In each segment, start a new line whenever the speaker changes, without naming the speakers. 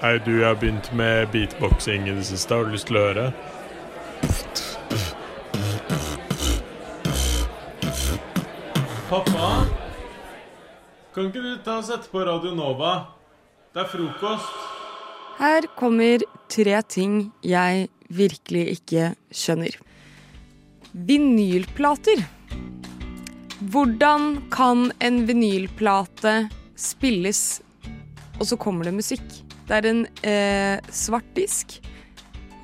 Hei, du, jeg har begynt med beatboxing i det siste. Har du lyst til å høre?
Pappa? Kan ikke du ta og sette på Radio Nova? Det er frokost.
Her kommer tre ting jeg virkelig ikke skjønner. Vinylplater. Hvordan kan en vinylplate spilles, og så kommer det musikk? Det er en eh, svart disk,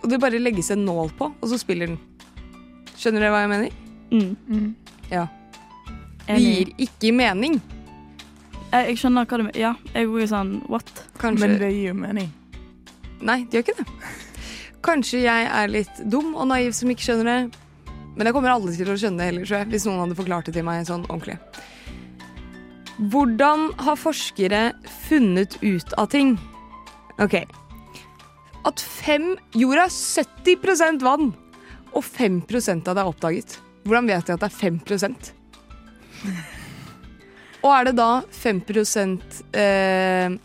og det bare legges en nål på, og så spiller den. Skjønner dere hva jeg mener? Ja. Det
Mm. Enig. Eh,
gir ikke mening,
Jeg, jeg skjønner hva du mener. Ja, jeg er sånn what?
kanskje.
Men det gir jo mening.
Nei, det gjør ikke det. Kanskje jeg er litt dum og naiv som ikke skjønner det. Men jeg kommer aldri til å skjønne det heller, tror jeg, hvis noen hadde forklart det til meg sånn ordentlig. Hvordan har forskere funnet ut av ting? OK. At fem Jorda er 70 vann, og 5 av det er oppdaget. Hvordan vet de at det er 5 Og er det da 5 eh,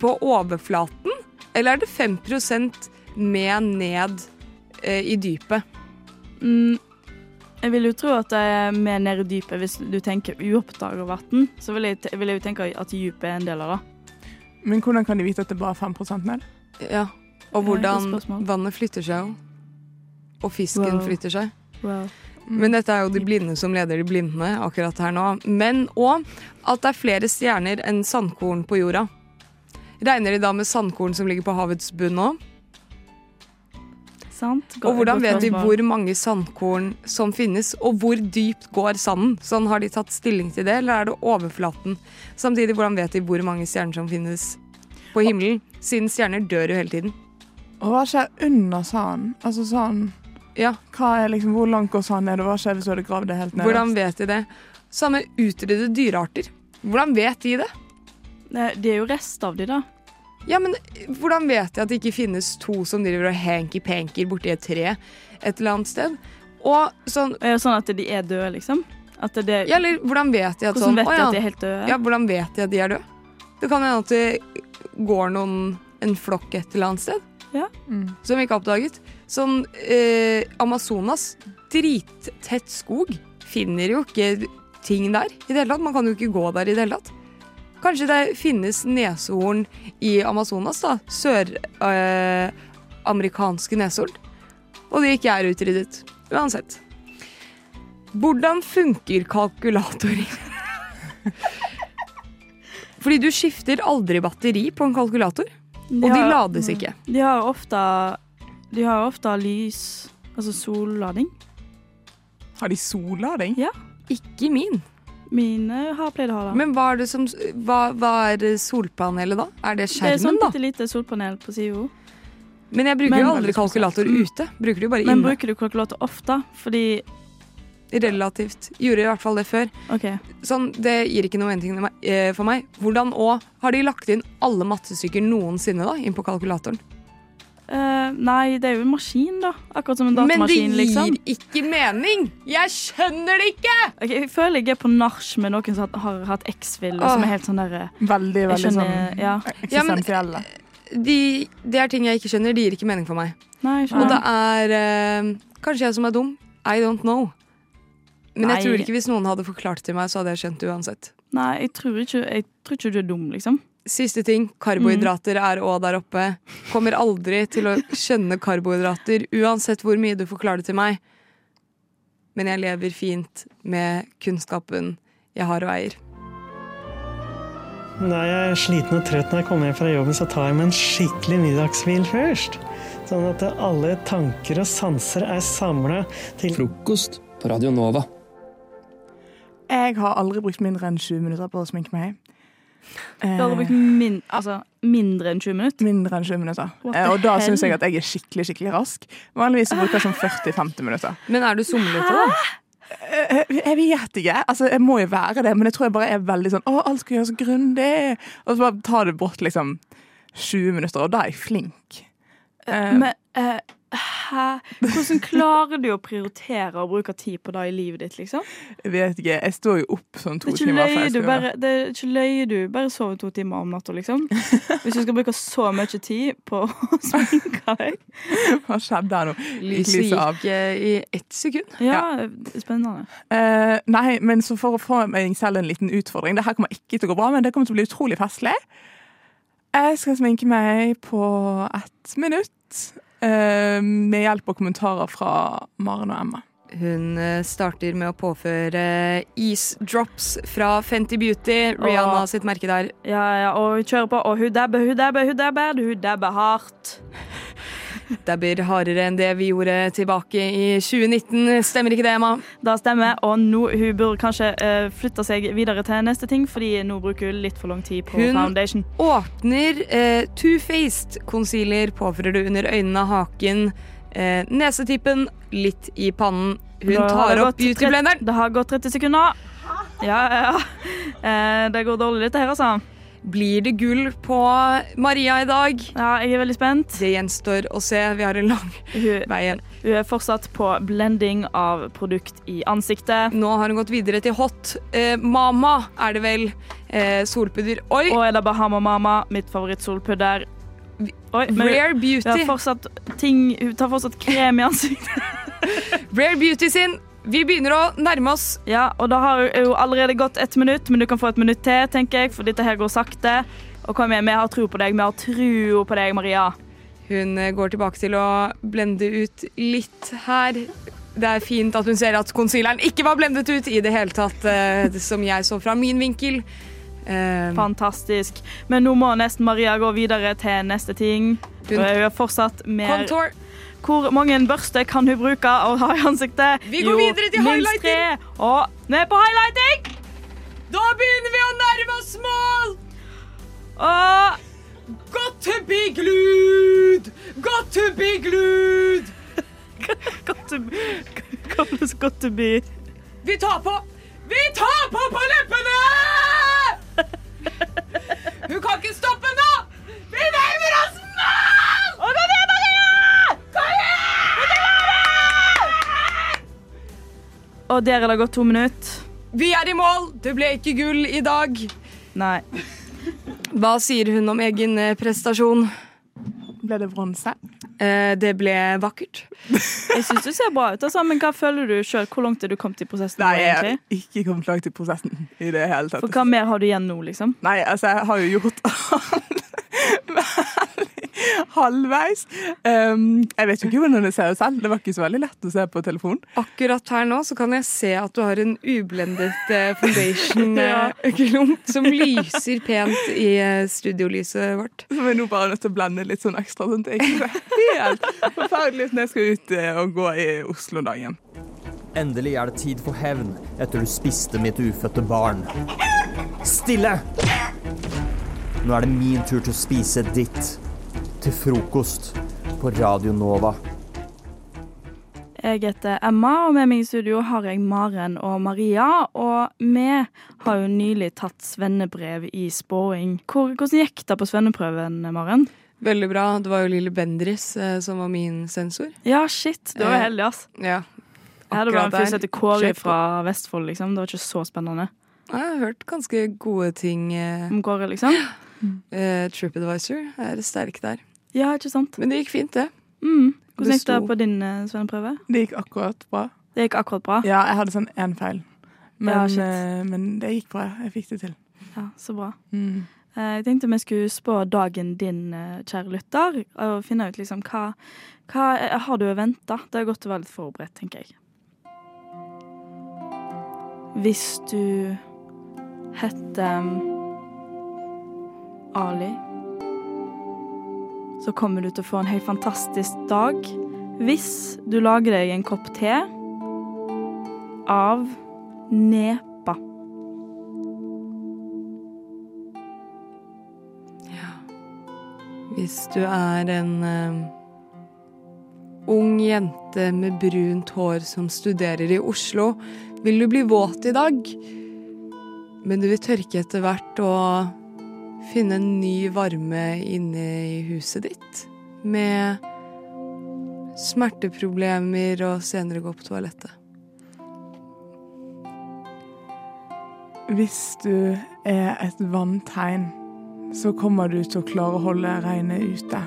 på overflaten? Eller er det 5 med ned eh, i dypet?
Mm, jeg vil jo tro at det er mer ned i dypet. Hvis du tenker uoppdaga vann, så vil jeg, te- vil jeg jo tenke at dypet er en del av det.
Men hvordan kan de vite at det bare er 5 ned?
Ja. Og
Ja,
hvordan
godt spørsmål.
vannet flytter seg jo. Og fisken
Wow.
flytter seg.
Mm.
Men dette er jo de blinde som leder de blinde akkurat her nå. Men òg at det er flere stjerner enn sandkorn på jorda. Regner de da med sandkorn som ligger på havets bunn òg?
Sant? Godt-
Og hvordan
godt
vet de
spørsmål.
hvor mange sandkorn som finnes, og hvor dypt går sanden? Sånn, Har de tatt stilling til det, eller er det overflaten? Samtidig, hvordan vet de hvor mange stjerner som finnes på himmelen? Siden stjerner dør jo hele tiden.
Og hva skjer under sanden? Altså sånn
Ja,
hva er liksom, Hvor langt går sanden ned, og hva skjer hvis du hadde gravd det helt ned?
hvordan vet de det? Samme utrydde dyrearter. Hvordan vet de det?
Nei, Det er jo rest av Eh, de, da.
Ja, men hvordan vet jeg at det ikke finnes to som driver og hanky-panker borti et tre et eller annet sted? Og sånn,
Er det sånn at de er døde, liksom? At det,
ja, eller hvordan vet jeg at
hvordan
sånn
vet
«Å
de
ja,
at de er helt døde?
Ja, hvordan vet de at de er døde? Det kan hende at det går noen, en flokk et eller annet sted
Mm.
som vi ikke har oppdaget. Sånn eh, Amazonas, drittett skog, finner jo ikke ting der i det hele tatt. Man kan jo ikke gå der i det hele tatt. Kanskje det finnes neshorn i Amazonas, da. Søramerikanske neshorn. Og de ikke er utryddet. Uansett. Hvordan funker kalkulatorer? Fordi du skifter aldri batteri på en kalkulator, og de
har-
lades ikke.
De har jo ofte De har jo ofte lys Altså sollading.
Har de sollading?
Ikke min.
Mine har pleid å ha det.
Men hva er, det som, hva, hva er eh, solpanelet da? Er
det
det
er
skjermen,
sånn
da?
bitte lite solpanel på sida.
Men jeg bruker
Men-
jo aldri kalkulator
Mm.
ute. Bruker det jo bare
Men
inne.
bruker du kalkulator ofte? Fordi
Relativt. Gjorde i hvert fall det før.
OK.
Sånn, Det gir ikke noe mening eh, for meg. Hvordan og Har de lagt inn alle mattestykker noensinne da, inn på kalkulatoren?
Eh, nei, det er jo en maskin, da. Akkurat som en
Men det gir
datamaskin, liksom.
ikke mening! Jeg skjønner det ikke!
Ok, jeg føler jeg er på nach med noen som har, har hatt X-Fill, og som
Åh.
er helt sånn derre
Veldig,
Jeg
veldig
skjønner
sånn
Ja.
Ja, men-
eksistensielle.
De, det er ting jeg ikke skjønner. Det gir ikke mening for meg.
Nei, jeg
Og det
skjønner.
er eh, Kanskje jeg som er dum. I don't know. Men
Nei.
jeg tror ikke hvis noen hadde forklart til meg, så hadde jeg skjønt det uansett.
Nei, jeg tror ikke, jeg tror ikke du er dum, liksom.
Siste ting. Karbohydrater er òg der oppe. Kommer aldri til å skjønne karbohydrater, uansett hvor mye du forklarer det til meg. Men jeg lever fint med kunnskapen jeg har og eier.
Når jeg er sliten og trøtt når jeg kommer hjem fra jobben, så tar jeg meg en skikkelig middagshvil først. Sånn at alle tanker og sanser er samla til
Frokost på Radio Nova.
Jeg har aldri brukt mindre enn 20 minutter på å sminke meg. Eh,
Du har brukt min, altså, mindre enn 20 minutter.
mindre enn 20 minutter.
What
Eh, og
the
da
hell?
syns jeg at jeg er skikkelig skikkelig rask. Vanligvis så bruker jeg sånn 40-50 minutter.
Men er du somlete, da?
Eh, Jeg vet ikke. altså Jeg må jo være det, men jeg tror jeg bare er veldig sånn Å, alt skal gjøres grundig. Og så bare tar det bort liksom 20 minutter, og da er jeg flink. Eh,
Men eh, Hæ? Hvordan klarer du å prioritere og bruke tid på det i livet ditt, liksom?
Jeg vet ikke. Jeg står jo opp sånn
Det
to
er ikke
timer
løye
før jeg
du
skal gjøre
bare, det er ikke løye du bare sover to timer om natta, liksom. Hvis du skal bruke så mye tid på å sminke deg.
det. Hva skjedde her nå? Gikk
Lyset
lyset av.
gikk eh, i ett sekund.
Ja, spennende.
Eh, nei, men så for å få meg selv en liten utfordring Det her kommer ikke til å gå bra, men det kommer til å bli utrolig festlig. Jeg skal sminke meg på ett minutt eh, med hjelp og kommentarer fra Maren og Emma.
Hun eh, starter med å påføre eh, isdrops fra Fenty Beauty, Rihanna
Åh.
sitt merke der.
Ja, ja, og hun kjører på, og hun dabber, hun dabber, hun dabber, hun dabber hardt.
Dabber hardere enn det vi gjorde tilbake i 2019. Stemmer ikke det, Emma?
Det stemmer, og nå, hun burde kanskje eh, flytte seg videre til neste ting, fordi nå bruker hun litt for lang tid på
Hun-
foundation.
Åpner eh, two-faced concealer, påfører du under øynene, haken, eh, nesetippen, litt i pannen. Hun
Da har
tar
det
opp
gått trett-
beautyblenderen.
Det har gått 30 sekunder. Ja, ja, ja. Eh, det går dårlig dette her, altså.
Blir det gull på Maria i dag?
Ja, jeg er veldig spent.
Det gjenstår å se. Vi har en lang
Hun,
vei igjen.
hun er fortsatt på blending av produkt i ansiktet.
Nå har hun gått videre til hot. Eh, mama er det vel. Eh, solpudder. Oi!
Og er det Bahama Mama, mitt favorittsolpudder. Oi, men hun- hun
Rare
har
Beauty.
fortsatt ting, hun tar fortsatt krem i ansiktet.
Rare Beauty sin. Vi begynner å nærme oss.
Ja, og da har hun jo allerede gått ett minutt, men du kan få et minutt til, tenker jeg, for dette her går sakte. Og kom igjen, vi har tro på deg, vi har tro på deg, Maria.
Hun eh, går tilbake til å blende ut litt her. Det er fint at hun ser at concealeren ikke var blendet ut i det hele tatt, eh, det som jeg så fra min vinkel.
Mm.
Eh,
Fantastisk. Men nå må nesten Maria gå videre til neste ting.
Hun-
Hun er fortsatt mer
contour.
Hvor mange børster kan hun bruke å ha i ansiktet?
Vi går videre til
minst tre. Og ned på highlighting!
Da begynner vi å nærme oss mål!
Og
Got to be glued! Got to be glued!
Got to be, got to be.
Vi tar på Vi tar på på leppene! Hun kan ikke stoppe nå! Vi nærmer oss mål! Og kom igjen, Maria! Kom igjen!
Og der er det gått to minutter.
Vi er i mål. Det ble ikke gull i dag.
Nei.
Hva sier hun om egen eh, prestasjon?
Ble det bronse?
Eh, det ble vakkert.
Jeg syns du ser bra ut, altså, men hva føler du sjøl? Hvor langt er du kommet i prosessen? nå,
Nei, jeg har
egentlig?
ikke kommet langt i prosessen i det hele tatt.
For hva mer har du igjen nå, liksom?
Nei, altså, jeg har jo gjort alt halvveis. Um, jeg vet jo ikke hvordan det ser ut selv. Det var ikke så veldig lett å se på telefonen.
Akkurat her nå så kan jeg se at du har en ublendet eh, foundation-klump som lyser pent i eh, studiolyset vårt.
Så jeg er nå bare nødt til å blende litt sånn ekstra. Sånn at jeg ikke ser helt forferdelig ut når jeg skal ut eh, og gå i Oslo dagen.
Endelig er det tid for hevn etter du spiste mitt ufødte barn. Stille! Nå er det min tur til å spise ditt. Til frokost på Radio Nova.
Jeg heter Emma, og med meg i studio har jeg Maren og Maria. Og vi har jo nylig tatt svennebrev i spåing. Hvor, hvordan gikk det på svenneprøven, Maren?
Veldig bra. Det var jo Lille Bendris eh, som var min sensor.
Ja, shit, du var heldig, ass.
Ja.
Jeg hadde bare en fyr som heter Kåre
Sjekk på.
fra Vestfold, liksom. Det var ikke så spennende.
Jeg har hørt ganske gode ting. eh,
Om Kåre, liksom.
eh, TripAdvisor er sterk der.
Ja, ikke sant?
Men det gikk fint, det.
Mm. Hvordan gikk det
Besto.
på din eh, svenneprøve?
Det gikk akkurat bra.
Det gikk akkurat bra.
Ja, jeg hadde sånn én feil. Men,
Ja, shit.
eh, men det gikk bra. Jeg fikk det til.
Ja, så bra.
Mm.
Eh, Jeg tenkte vi skulle spå dagen din, eh, kjære lytter, og finne ut liksom hva, hva eh, har du å vente. Det er godt å være litt forberedt, tenker jeg. Hvis du heter mm, Ali, så kommer du til å få en helt fantastisk dag hvis du lager deg en kopp te av nepa.
Hvis du er en eh, ung jente med brunt hår som studerer i Oslo, vil du bli våt i dag. Men du vil tørke etter hvert og finne en ny varme inne i huset ditt med Smerteproblemer og senere gå på toalettet.
Hvis du er et vanntegn, så kommer du til å klare å holde regnet ute.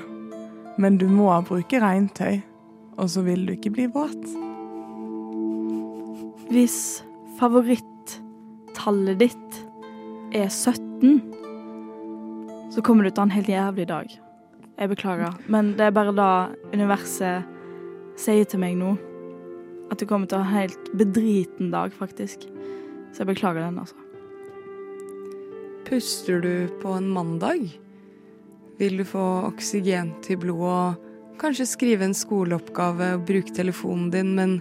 Men du må bruke regntøy, og så vil du ikke bli våt.
Hvis favorittallet ditt er 17, så kommer du til å ha en helt jævlig dag. Jeg beklager, men det er bare da universet sier til meg nå at du kommer til å ha en helt bedriten dag, faktisk. Så jeg beklager den, altså.
Puster du på en mandag, vil du få oksygen til blodet og kanskje skrive en skoleoppgave og bruke telefonen din, men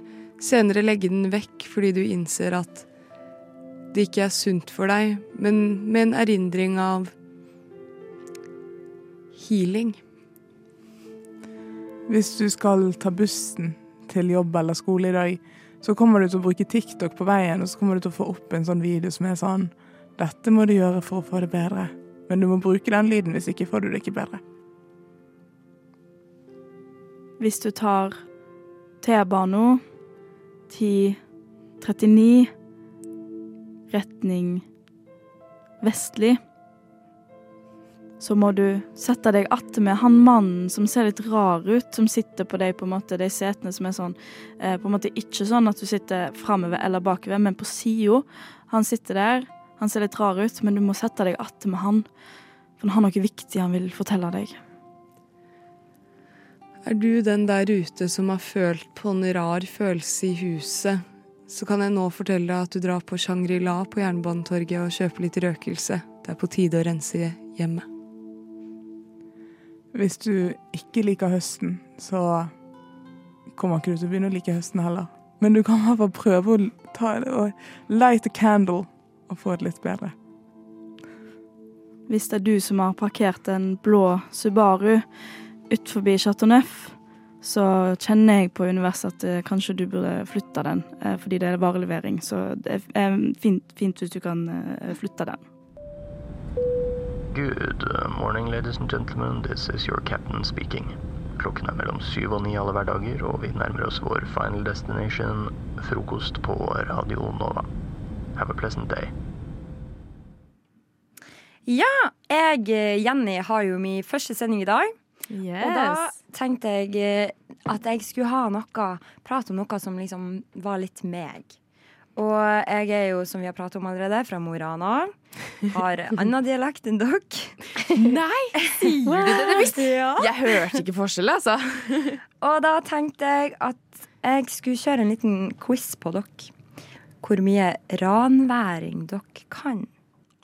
senere legge den vekk fordi du innser at det ikke er sunt for deg, men med en erindring av healing.
Hvis du skal ta bussen til jobb eller skole i dag, så kommer du til å bruke TikTok på veien, og så kommer du til å få opp en sånn video som er sånn Dette må du gjøre for å få det bedre. Men du må bruke den lyden, hvis ikke får du det ikke bedre.
Hvis du tar T-banen 10.39 retning vestlig, så må du sette deg attmed han mannen som ser litt rar ut, som sitter på deg på en måte, de setene som er sånn eh, På en måte ikke sånn at du sitter framover eller bakover, men på sida. Han sitter der, han ser litt rar ut, men du må sette deg attmed han. For han har noe viktig han vil fortelle deg.
Er du den der ute som har følt på en rar følelse i huset, så kan jeg nå fortelle deg at du drar på Shangri-La på Jernbanetorget og kjøper litt røkelse. Det er på tide å rense hjemmet.
Hvis du ikke liker høsten, så kommer ikke du til å begynne å like høsten heller. Men du kan i hvert fall prøve å ta det og light a candle og få det litt bedre.
Hvis det er du som har parkert en blå Subaru utenfor Chateau Neuf, så kjenner jeg på universet at eh, kanskje du burde flytte den, eh, fordi det er varelevering. Så det er eh, fint, fint hvis du kan eh, flytte den.
Good uh, morning, ladies and gentlemen. This is your captain speaking. Klokken er mellom syv og ni alle hverdager, og vi nærmer oss vår final destination, frokost på Radio Nova. Have a pleasant day.
Ja, jeg, eh, Jenny, har jo min første sending i dag. Og da tenkte jeg eh, at jeg skulle ha noe, prate om noe som liksom var litt meg. Og jeg er jo, som vi har pratet om allerede, fra Mo i Rana. Har annen dialekt enn dere.
Nei, sier du det? det visste.
Ja.
Jeg hørte ikke forskjell, altså.
Og da tenkte jeg at jeg skulle kjøre en liten quiz på dere. Hvor mye ranværing dere kan.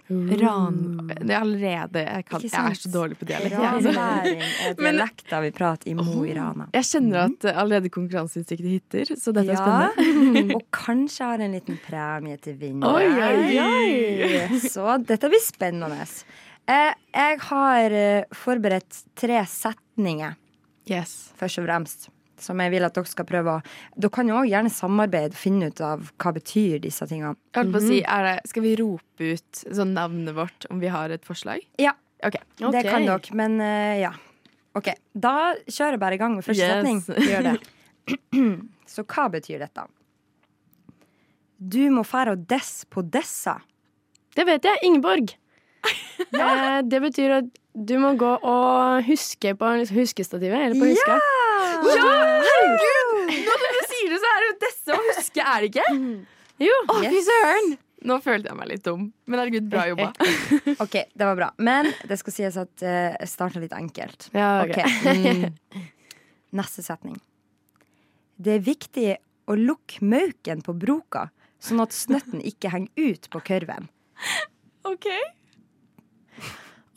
Ran... Det er allerede jeg, kan, jeg
Ikke
er
sant?
så dårlig på dialekt.
Ranværing er
Men-
dialekta vi prater i Mo i Rana.
Jeg kjenner at eh, allerede konkurranseinstinktet hitter, så dette er
Ja.
spennende.
Og kanskje har en liten premie til
Oi,
vinneren.
oi,
Så dette blir spennende. Eh, Jeg har eh, forberedt tre setninger,
Yes.
først og fremst. Som jeg vil at dere skal prøve å Dere kan jo også gjerne samarbeide og finne ut av hva betyr disse tingene.
Jeg holdt på å si, er det, Skal vi rope ut sånn navnet vårt om vi har et forslag?
Ja.
Ok.
Det kan dere, men eh, ja. OK. Da kjører jeg bare i gang med første
Yes.
setning. Gjør det. Så hva betyr dette? Du må fære og dess på dessa.
Det vet jeg. Ingeborg. Eh, Det betyr at du må gå og huske på huskestativet. Eller på huska.
Ja, herregud! Nå når du sier det, så er det jo disse å huske, er det ikke?
Jo.
Å,
Yes.
fy søren! Nå følte jeg meg litt dum. Men herregud, bra jobba.
Ok, det var bra. Men det skal sies at eh, jeg starta litt enkelt.
Ja,
Ok. mm. Neste setning. Det er viktig å lukke mauken på broka, sånn at snøtten ikke henger ut på kurven.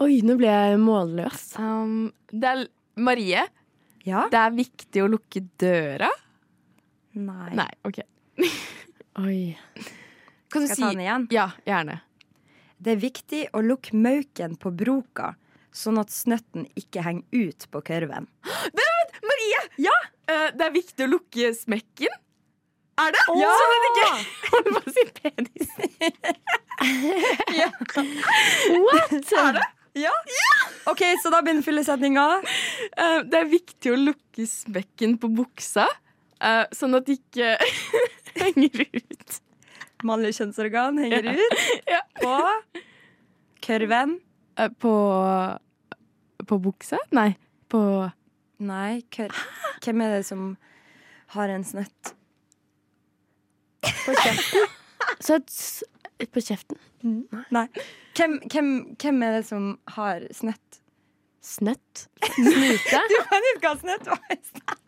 Oi, nå ble jeg målløs.
Um, det er Marie,
Ja?
det er viktig å lukke døra.
Nei.
Nei, OK.
Oi.
Kan du
Skal jeg ta
si
den igjen?
Ja, gjerne.
Det er viktig å lukke mauken på broka, sånn at snøtten ikke henger ut på kurven.
Marie! Ja! Eh, det er viktig å lukke smekken. Er det?
Ja!
Sånn at det ikke Holdt på å si penis.
OK, så da begynner fyllesetninga.
Eh, det er viktig å lukke smekken på buksa, eh, sånn at det ikke henger ut.
Mannlig kjønnsorgan henger
Ja.
ut. På kurven.
Eh,
På På buksa? Nei. På
Nei, kør. hvem er det som har en snøtt? På kjeften.
Så et s- på kjeften?
Nei. Hvem, hvem, hvem er det som har snøtt?
Snøtt?
Snute? Du fant ut hva snøtt var i stad.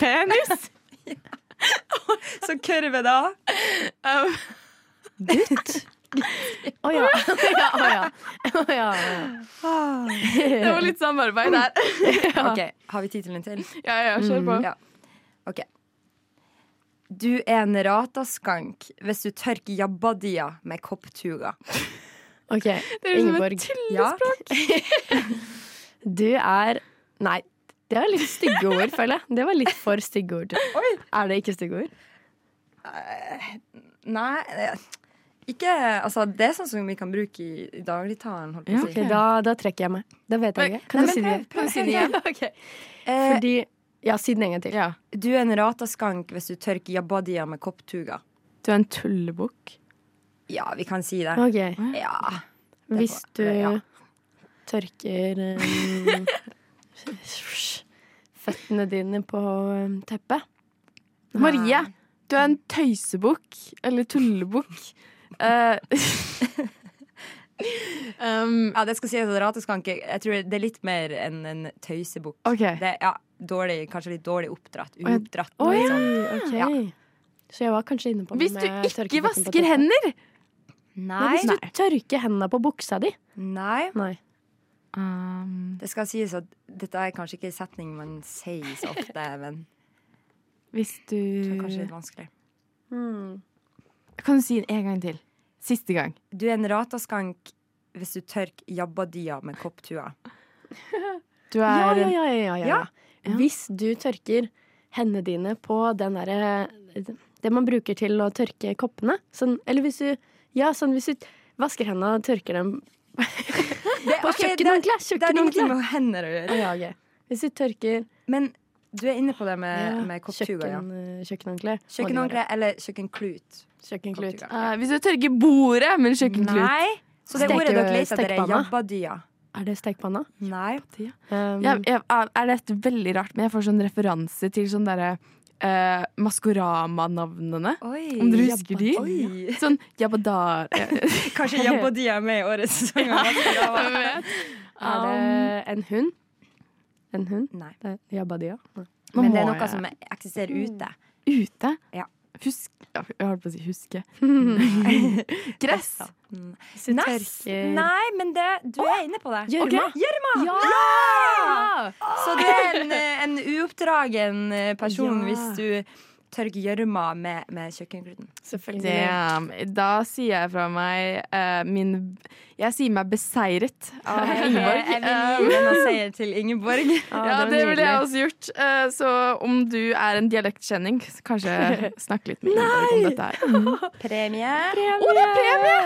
Penis.
Så kurve, da?
Gutt? Å ja. Å ja, å ja. Å ja, å ja.
Det var litt samarbeid der.
OK, har vi tid til en til?
Ja, ja, kjør på.
Mm, ja. OK. Du er en rataskank hvis du tørker jabbadia med kopptuga.
OK,
er jo som et
Ingeborg. Du er Nei, det var litt stygge ord, føler jeg. Det var litt for stygge ord. Er det ikke stygge ord?
Nei, eh, ikke Altså, det er sånn som vi kan bruke i, i dagligtalen, holdt på
Ja,
å si.
ok, da, da trekker jeg meg. Da vet jeg
Men,
ikke.
kan du si det igjen?
Kan du si det igjen?
Eh,
Fordi Ja, si den en gang til.
Du er en rataskank hvis du tørker jabbadia med kopptuga.
Du er en tullebukk.
Ja, vi kan si det.
Ok.
Ja.
Hvis du
Ja.
tørker um, føttene dine på um, teppet
Marie, du er en tøysebukk. Eller tullebukk. Eh,
Um,
ja, det skal sies at rateskanke Jeg tror det er litt mer enn en tøysebukk.
Ok.
Det er, ja, dårlig, kanskje litt dårlig oppdratt.
ja.
Utdratt.
Å ja,
liksom.
ok. Så jeg var kanskje inne på noe
Hvis du
med tørke
ikke
føttene på
vasker
teppet.
hender!
Nei. Hvis du tørker hendene på buksa di.
Nei.
Nei.
Det skal sies at dette er kanskje ikke en setning man sier så ofte, men
Hvis du
det er kanskje litt vanskelig.
Hmm.
Kan du si det en gang til? Siste gang.
Du er en rataskank hvis du tørker jabbadia med kopptua.
Du ja,
er-
ja, ja, ja, ja,
Ja.
ja. Hvis du tørker hendene dine på den derre Det man bruker til å tørke koppene. Sånn, eller hvis du Ja, sånn hvis du vasker hendene og tørker dem på
ok,
kjøkkenhåndkle.
Det har ingenting
Kjøkkenhåndkle.
med hender å gjøre.
Ja, ok. Hvis du tørker
Men du er inne på det
Eh,
med, med kopptuga, ja.
kjøkken, eh, Kjøkkenhåndkle.
Kjøkkenhåndkle eller kjøkkenklut.
Kjøkkenklut. Ah,
Eh, hvis du tørker bordet med en kjøkkenklut.
Nei. Så det
Steker-
ordet dere leter etter, er
stekepanna.
jabbadia.
Er det stekepanna? Um,
Nei.
Jeg, jeg, er det et veldig rart, men jeg får sånn referanse til sånn derre eh, Maskorama-navnene.
Oi.
Om dere husker de?
Oi.
Sånn Jabadar
eh,
Kanskje jabbadia er med i årets sesong. av Maskorama.
Er det en hund? En hund?
Nei.
Det er Jabbadia? Nei.
Men det er noe som eksisterer
Mm.
ute.
Ute?
Ja.
Husk ja, Jeg holdt på å si huske. Gress!
Hvis du
Nass.
tørker-
Nei, men det, du er inne på det.
Gjørma.
Ok, Gjørma!
Ja!
Så du er en, eh, en uoppdragen eh, person
Ja.
hvis du tørker gjørma med, med kjøkkenkluten.
Damn. Da sier jeg fra meg eh, min Jeg sier meg beseiret av
Jeg vil
Ingeborg.
gi
Um,
den og si til Ingeborg.
ja, det ville jeg også gjort. Eh, så om du er en dialektkjenning, så kanskje snakk litt med Ingeborg om dette her.
Premie.
Å, det er premie!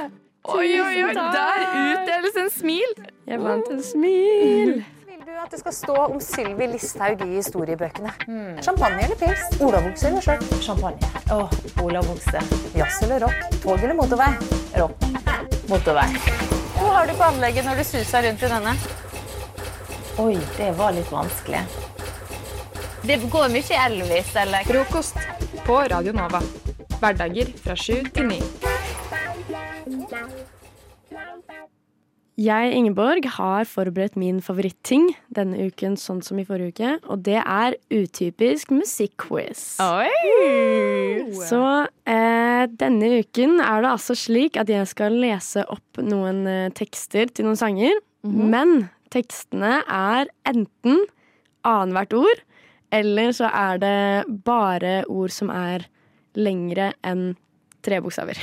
Oi, oi, oi,
Tusen takk.
der utdeles en smil.
Jeg vant en smil.
Vil du at det skal stå om Sylvi Listhaug i historiebøkene? Champagne eller pils? Olavokse eller skjørt? Champagne. Åh, Olavokse. Jazz eller rock? Tog eller motorvei? Rock. Motorvei. Hva har du på anlegget når du suser rundt i denne? Oi, det var litt vanskelig. Det går mye Elvis, eller? Frokost på Radio Nova. Hverdager fra sju til ni.
Jeg, Ingeborg, har forberedt min favoritting denne uken, sånn som i forrige uke. Og det er utypisk musikkquiz.
Oi!
Så eh, denne uken er det altså slik at jeg skal lese opp noen eh, tekster til noen sanger.
Mhm.
Men tekstene er enten annethvert ord, eller så er det bare ord som er lengre enn tre bokstaver.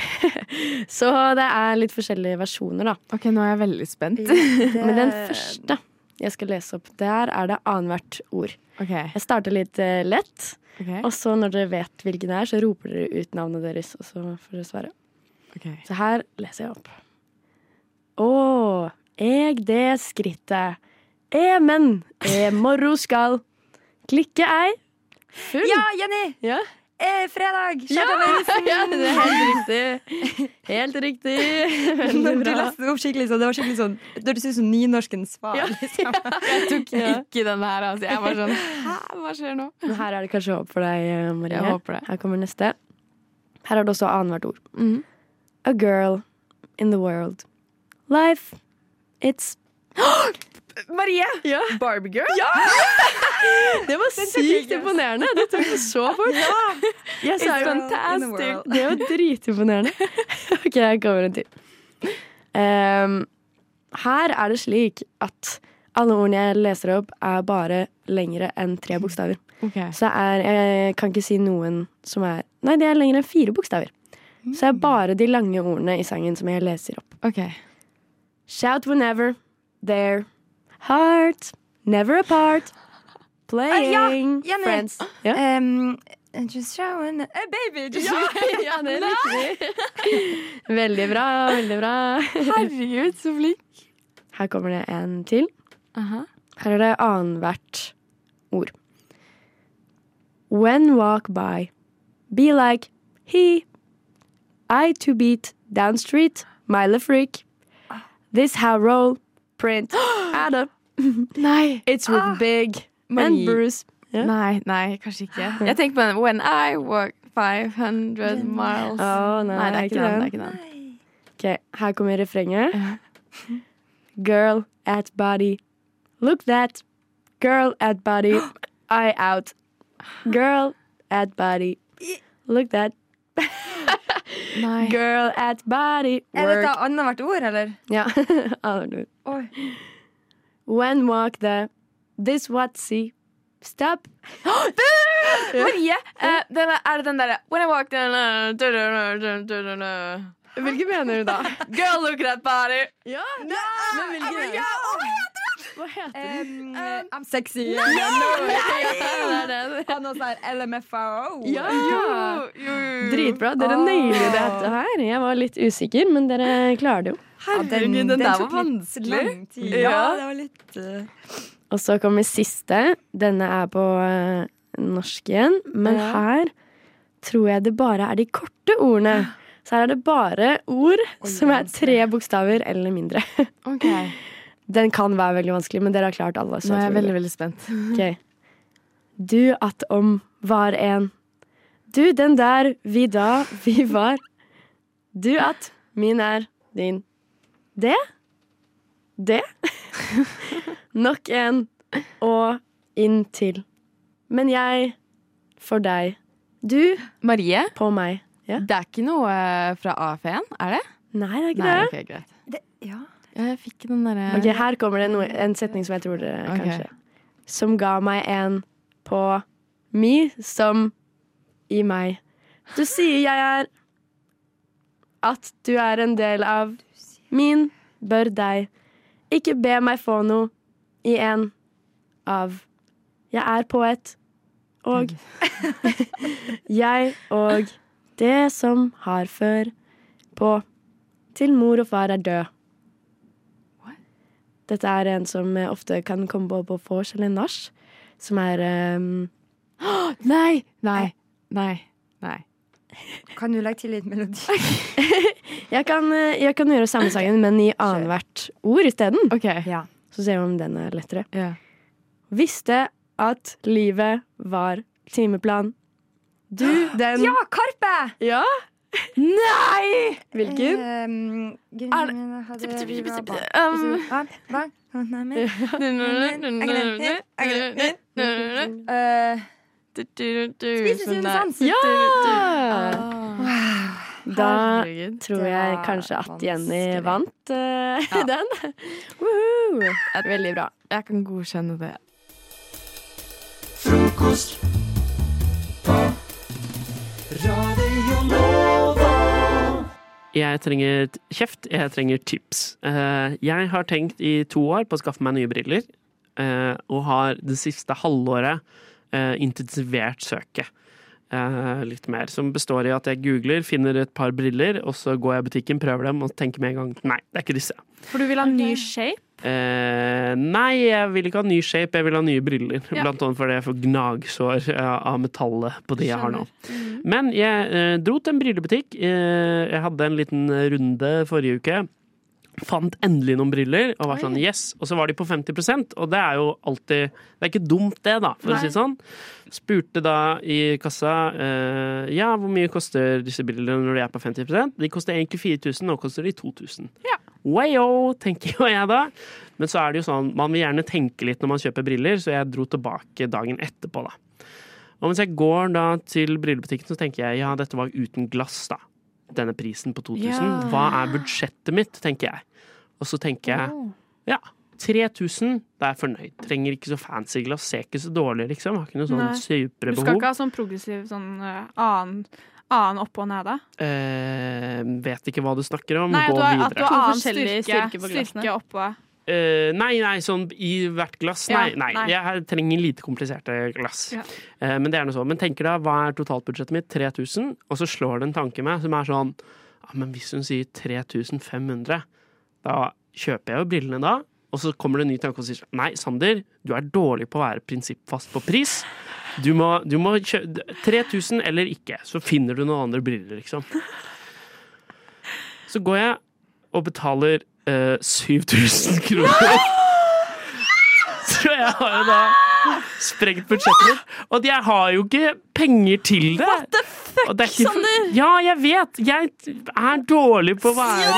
Så det er litt forskjellige versjoner, da.
Ok, nå er jeg veldig spent.
Men den første jeg skal lese opp, der er det annethvert ord. Jeg starter litt eh, lett,
Ok.
og så når dere vet hvilken det er, så roper dere ut navnet deres, og så får dere svare.
Ok.
Så her leser jeg opp. Å, eg det skrittet E, men e, morro skal klikke ei. Full.
Ja, Jenny!
E,
Eh, fredag!
Ja,
Kjære Mensen!
ja, det er helt riktig. Helt riktig. Veldig
Når du
bra.
leste det opp skikkelig sånn, det var skikkelig sånn Det hørtes ut som nynorskens far. Liksom. Jeg tok
Ikke den her, altså. Jeg var sånn Hæ, hva skjer nå?
Men her er det kanskje håp for deg, eh, Marie.
Jeg håper det. Mhm.
Her kommer neste. Her er det også annethvert ord. A girl in the world. Life, it's
Marie! Barbie girl?
Det var sykt imponerende! Det tok det så fort. Yes,
It's
I'm
fantastic.
fantastic. Det var dritimponerende. OK, jeg kommer en til. Ehm, her er det slik at alle ordene jeg leser opp, er bare lengre enn tre bokstaver. Så jeg, er, jeg kan ikke si noen som er Nei, det er lengre enn fire bokstaver. Så det
Mm.
er bare de lange ordene i sangen som jeg leser opp. Shout whenever, there, heart, never apart,
Eh, ja,
playing,
Jenny.
friends.
Um, just showing a baby! Just
Ja, ja, det likte Veldig bra, veldig bra.
Herregud, så flink.
Her kommer det en til. Her er det annethvert ord. When walk by, be like he. I to beat down street, mile freak. This how roll, print, add up.
Nei.
It's with big and bruise. Ja.
Nei, nei, kanskje ikke. Jeg tenker på den When I walk 500 miles.
Å, nei,
det er
ikke
ikke den. Det er
den.
ikke den.
Ok, her kommer refrenget.
Uh-huh.
Girl at body. Look that. Girl at body. Eye out. Girl at body. Look that. Girl at body.
Er dette
Work.
annethvert ord, eller?
Ja. Annet ord. When walk the. This what see. Stop.
Marie, eh, den er, er det den derre When I walk down uh, du, du, du, du, du, du, du. Hvilken mener du da? Girl look at body.
Ja,
men hvilken er det?
Hva
Eh,
heter
den? I'm sexy.
Nei!
Yeah, eh, no.
Nei! Det er
Han også er LMFAO.
Ja.
Jo,
Dritbra. Dere nailer dette her. Jeg var litt usikker, men dere klarer det jo.
Herregud, den, der var vanskelig. Ja, det var litt eh.
Og så kommer siste. Denne er på eh, norsk igjen. Men
Ja.
her tror jeg det bare er de korte ordene. Så her er det bare ord som er tre bokstaver eller mindre. Den kan være veldig vanskelig, men dere har klart alle.
Nå er jeg veldig,
spent. Du at om var en. Du den der vi da vi var. Du at min er din. Det? Det? Nok en og inntil. Men jeg for deg. Du
Marie,
på meg.
det er ikke noe eh, fra AF1, er det?
Nei, det er ikke
Nei,
det.
ok, greit.
ja.
Jeg fikk den derre
Ok, Her kommer det noe, en setning som jeg tror dere
Ok.
kanskje Som ga meg en på mi som i meg. Du sier jeg er at du er en del av min, bør deg. Ikke be meg få noe i en av. Jeg er på et og jeg og det som har før på til mor og far er død. Dette er en som eh, ofte kan komme på på vors eller nach, som er ehm,
Nei! Nei. Nei. Nei.
Kan du legge til litt melodi?
jeg, kan, eh, jeg kan gjøre samme sangen, men i annethvert ord isteden.
Okay.
Så ser vi om den er lettere. Visste at livet var timeplan. Du, den
Ja, Karpe!
Ja?
Nei!
Hvilken?
Um,
Er det- Um.
Spisesund-sans.
Ja!
Ah.
Da
Herregud.
tror jeg kanskje at Jenny vant eh, den. Veldig bra.
Jeg kan godkjenne det.
Frokost på Radio Nova.
Jeg trenger t- kjeft, jeg trenger tips. Eh, Jeg har tenkt i to år på å skaffe meg nye briller, eh, og har det siste halvåret eh, intensivert søket eh, litt mer. Som består i at jeg googler, finner et par briller, og så går jeg i butikken, prøver dem, og tenker med en gang nei, det er ikke disse.
For du vil ha ny shape?
Eh, nei, jeg vil ikke ha ny shape, jeg vil ha nye briller.
Ja.
Blant annet fordi jeg får gnagsår eh, av metallet på de jeg har nå.
Skjønner.
Men jeg eh, dro til en brillebutikk. Eh, jeg hadde en liten runde forrige uke. Fant endelig noen briller, og var sånn
Oi.
yes. Og så var de på 50 og det er jo alltid Det er ikke dumt, det, da, for
Nei.
å si det sånn. Spurte da i kassa eh, ja, hvor mye koster disse brillene når de er på 50 De koster egentlig 4000, nå koster de 2000. Wayo, tenker jo jeg da. Men så er det jo sånn, man vil gjerne tenke litt når man kjøper briller, så jeg dro tilbake dagen etterpå, da. Og mens jeg går da til brillebutikken, så tenker jeg ja, dette var uten glass, da. Denne prisen på 2000.
Ja.
Hva er budsjettet mitt, tenker jeg. Og så tenker jeg ja, 3000, da er jeg fornøyd. Trenger ikke så fancy glass, ser ikke så dårlig, liksom. Har ikke noe sånn
Nei.
supre
Du
behov.
skal ikke ha sånn progressiv sånn eh, annen, annen opp og nede?
eh, vet ikke hva du snakker om,
Nei, at
gå
du har,
videre.
at du har annen
forskjellige
styrke,
styrker på
styrke,
glassene.
oppå.
Eh, nei, nei, sånn i hvert glass.
Ja,
Nei, nei.
nei.
jeg her trenger lite kompliserte glass.
Ja.
Eh, men det er noe sånn. Men tenker da, hva er totalbudsjettet mitt? 3000? Og så slår det en tanke meg som er sånn ja, Men hvis hun sier 3500, da kjøper jeg jo brillene da. Og så kommer det en ny tanke og sier sånn, Nei, Sander, du er dårlig på å være prinsippfast på pris. Du må, du må kjø 3000 eller ikke, så finner du noen andre briller, liksom. Så går jeg og betaler eh, 7000 kroner. Så jeg har jo da sprengt budsjettet mitt. Og jeg har jo ikke penger til det. What the fuck,
Sander?
Ja, jeg vet. Jeg er dårlig på å være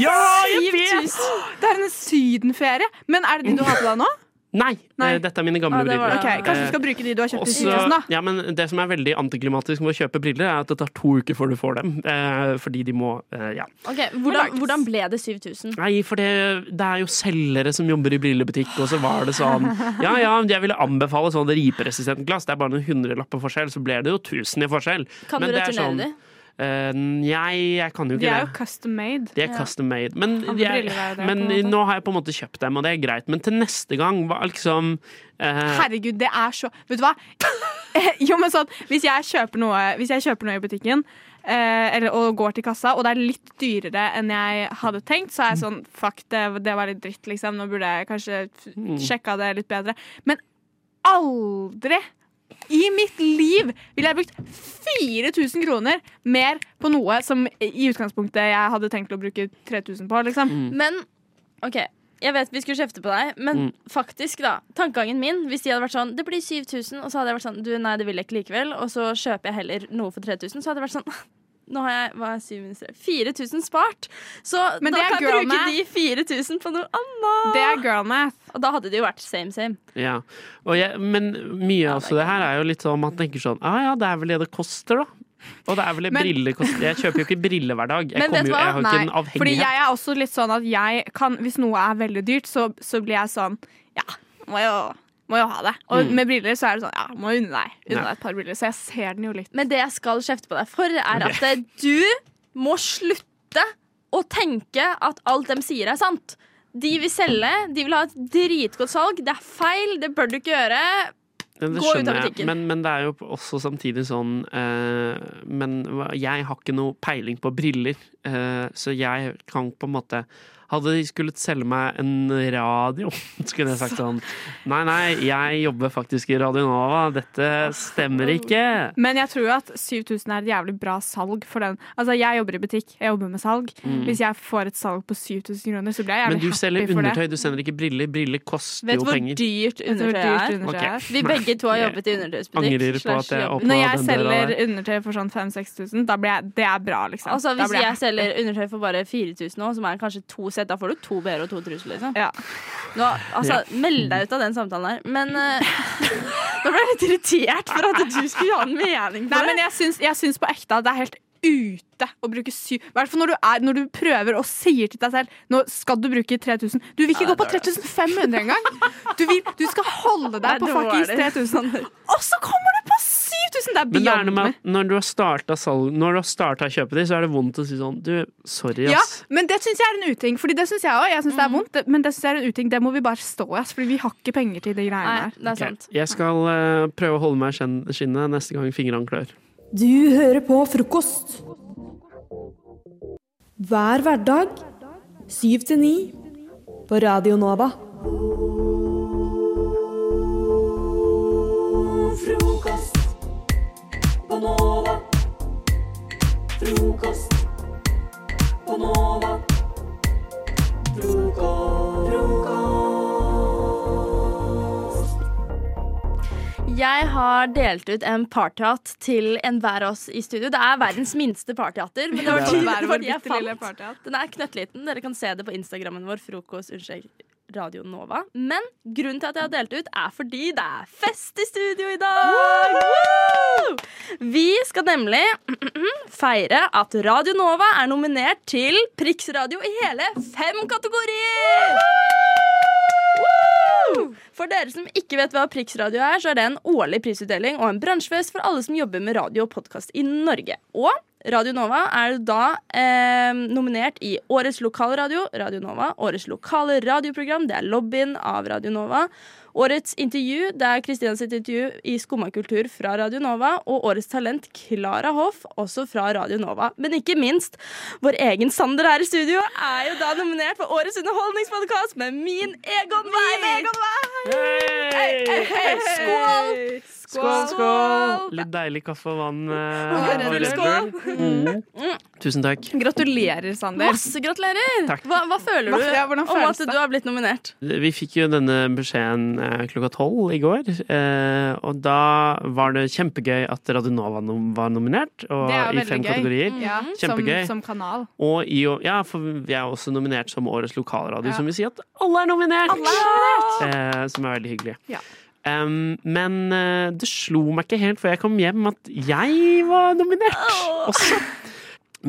Ja, jeg vet!
Det er en sydenferie! Men er det de du har på deg nå?
Nei,
Nei.
eh, dette er mine gamle
Ah, det var-
briller.
ok, Kanskje du skal
Eh,
bruke de du har kjøpt i
også-
Syden, da?
ja, men det som er veldig antiklimatisk med å kjøpe briller, er at det tar to uker før du får dem. Eh, fordi de må eh, Ja.
Ok, hvordan, hvordan ble det 7000?
Nei, for det, det er jo selgere som jobber i brillebutikk, og så var det sånn Ja ja, jeg ville anbefale sånn riperesistent glass, det er bare noen hundrelapper forskjell, så ble det jo tusen i forskjell.
Kan du
Men det er
returnere de?
eh, Nei, jeg kan jo
De
ikke
er jo
det.
custom made.
De er custom made. Men,
Andre
jeg,
briller er det,
men
på en måte.
nå har jeg på en måte kjøpt dem, og det er greit. Men til neste gang, hva liksom eh,
Herregud, det er så Vet du hva? Eh, Jo, men sånn, hvis jeg kjøper noe, hvis jeg kjøper noe i butikken eh, eller, og går til kassa, og det er litt dyrere enn jeg hadde tenkt, så er jeg sånn Fuck, det, det var litt dritt, liksom. Nå burde jeg kanskje f-
Mm.
sjekka det litt bedre. Men aldri i mitt liv ville jeg brukt 4000 kroner mer på noe som i utgangspunktet jeg hadde tenkt å bruke 3000 på, liksom.
Mm. Men OK, jeg vet vi skulle kjefte på deg, men
Mm.
faktisk, da. Tankegangen min, hvis de hadde vært sånn Det blir 7000, og så hadde jeg vært sånn Du, nei, det vil jeg ikke likevel. Og så kjøper jeg heller noe for 3000, så hadde jeg vært sånn nå har jeg hva er syv minus tre? 4000 spart, så
Men
da
det er
kan jeg
girl
bruke
math.
de 4000 på noe annet.
Det er girl math.
Og da hadde det jo vært same same.
Ja. Og jeg, men mye av det her er jo litt sånn man tenker sånn Ja ah, ja, det er vel det det koster, da. Og det er vel det
Men-
briller koster. Jeg kjøper jo ikke briller hver dag. Jeg,
Men vet
kommer
du
jo,
hva?
jeg har jo ikke en
Nei, fordi
avhengighet.
jeg er også litt sånn at jeg kan Hvis noe er veldig dyrt, så, så blir jeg sånn Ja, må jo, må jo ha det. Og
Mm.
med briller så er det sånn Ja, må unne deg, unne
Nei.
deg et par briller. Så jeg ser den jo litt.
Men det jeg skal kjefte på deg for, er at eh, du må slutte å tenke at alt de sier, er sant. De vil selge, de vil ha et dritgodt salg. Det er feil, det bør du ikke gjøre.
Ja, det
Gå ut av
skjønner jeg,
butikken.
men, men det er jo også samtidig sånn eh, Men hva- jeg har ikke noe peiling på briller, eh, så jeg kan på en måte Hadde de skullet selge meg en radio, skulle jeg sagt sånn Nei, nei, jeg jobber faktisk i Radio Nova. Dette stemmer ikke.
Men jeg tror jo at 7000 er et jævlig bra salg for den. Altså, jeg jobber i butikk, jeg jobber med salg.
Mm.
Hvis jeg får et salg på 7000 kroner, så blir jeg
Men
jævlig
du selger
happy for det.
undertøy, du sender ikke briller. Briller koster
Vet
jo
du hvor
penger.
dyrt
Vet du hvor
undertøy
dyrt
er?
undertøy er?
Vi begge to har jobbet i undertøysbutikk.
Angrer på at
slash
jeg
jobb.
åpnet
Når jeg
den døra
selger
der.
undertøy for sånn 5000-6000, da blir jeg Det er bra, liksom.
Altså,
Da
hvis
blir
jeg,
happy.
selger undertøy for bare 4000 nå, som er kanskje to sett, da får du to BH og to truser, liksom. Nå, altså,
Ja.
meld deg ut av den samtalen her. Men eh, nå ble jeg litt irritert for at du skulle ha en mening på
Nei,
det.
men jeg syns, jeg syns på ekte at det er helt ute å bruke syv I hvert fall når du, er, når du prøver og sier til deg selv Nå skal du bruke 3000 Du vil ikke
Ja,
gå på
det er dårlig.
3500 engang! Du, vil- du skal holde
Det er
deg på fuckings
dårlig.
3000. Og så kommer du på 7000! Det er
Men det er noe
beyond
med
meg.
at når du har starta salg- når du har starta å kjøpe de, så er det vondt å si sånn Du, sorry,
Ja,
ass.
men det syns jeg er en uting. Fordi det syns jeg òg. Jeg syns det er vondt, men det syns jeg er en uting. Det må vi bare stå i, ass, fordi vi har ikke penger til de greiene der.
Ok, Jeg skal eh, prøve å holde meg i skjen- skinnet neste gang fingrene klør.
Du hører på frokost. Hver hverdag 7 til 9 på Radio Nova.
Frokost på Nova. Frokost på Nova.
Jeg har delt ut en partyhatt til enhver av oss i studio. Det er verdens minste partyhatter, men det var
Ja, det
de,
er
det
vår
var de jeg
bitte lille
fant. Den er knøttliten. Dere kan se det på Instagrammen vår, frokost, unnskyld, Radio Nova. Men grunnen til at jeg har delt ut, er fordi det er fest i studio i dag! Woo! Vi skal nemlig feire at Radio Nova er nominert til Priksradio i hele fem kategorier! Woo! For dere som ikke vet hva Priksradio er, så er det en årlig prisutdeling og en bransjefest for alle som jobber med radio og podkast i Norge. Og Radio Nova er da eh, nominert i Årets lokalradio, Radio Nova. Årets lokale radioprogram, det er lobbyen av Radio Nova. Årets intervju, det er Kristina sitt intervju i Skumma kultur fra Radio Nova. Og Årets talent, Klara Hoff, også fra Radio Nova. Men ikke minst, vår egen Sander her i studio er jo da nominert for Årets underholdningspodkast med Min Egon Wei! Hei, hei, hei, Skål!
Skål, skål! Litt deilig kaffe og vann. eh,
Red
og
Bull,
Red
skål.
Bull. Mm. Tusen takk.
Gratulerer, Sander.
Masse gratulerer!
Takk.
Hva, hva føler du
Hva- ja, hvordan
om
føles
at du har blitt nominert?
Vi fikk jo denne beskjeden eh, klokka tolv i går, eh, og da var det kjempegøy at Radionova nom- var nominert, og
Det er jo
i fem
veldig gøy. Mm.
kategorier.
Ja, som,
Kjempegøy.
som kanal.
Og i, å- ja, for vi er også nominert som Årets lokalradio,
Ja.
som vil si at Alle er nominert! eh, Som er veldig hyggelig.
Ja.
Um, men eh, det slo meg ikke helt før jeg kom hjem at jeg var nominert også.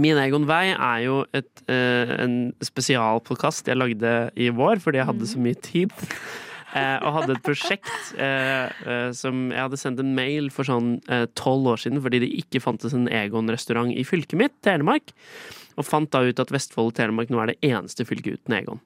Min egen vei er jo et, eh, en spesialpodkast jeg lagde i vår fordi jeg hadde så mye tid. Eh, og hadde et prosjekt eh, eh, som jeg hadde sendt en mail for sånn tolv år siden fordi det ikke fantes en Egon-restaurant i fylket mitt, Telemark. Og fant da ut at Vestfold og Telemark nå er det eneste fylket uten Egon.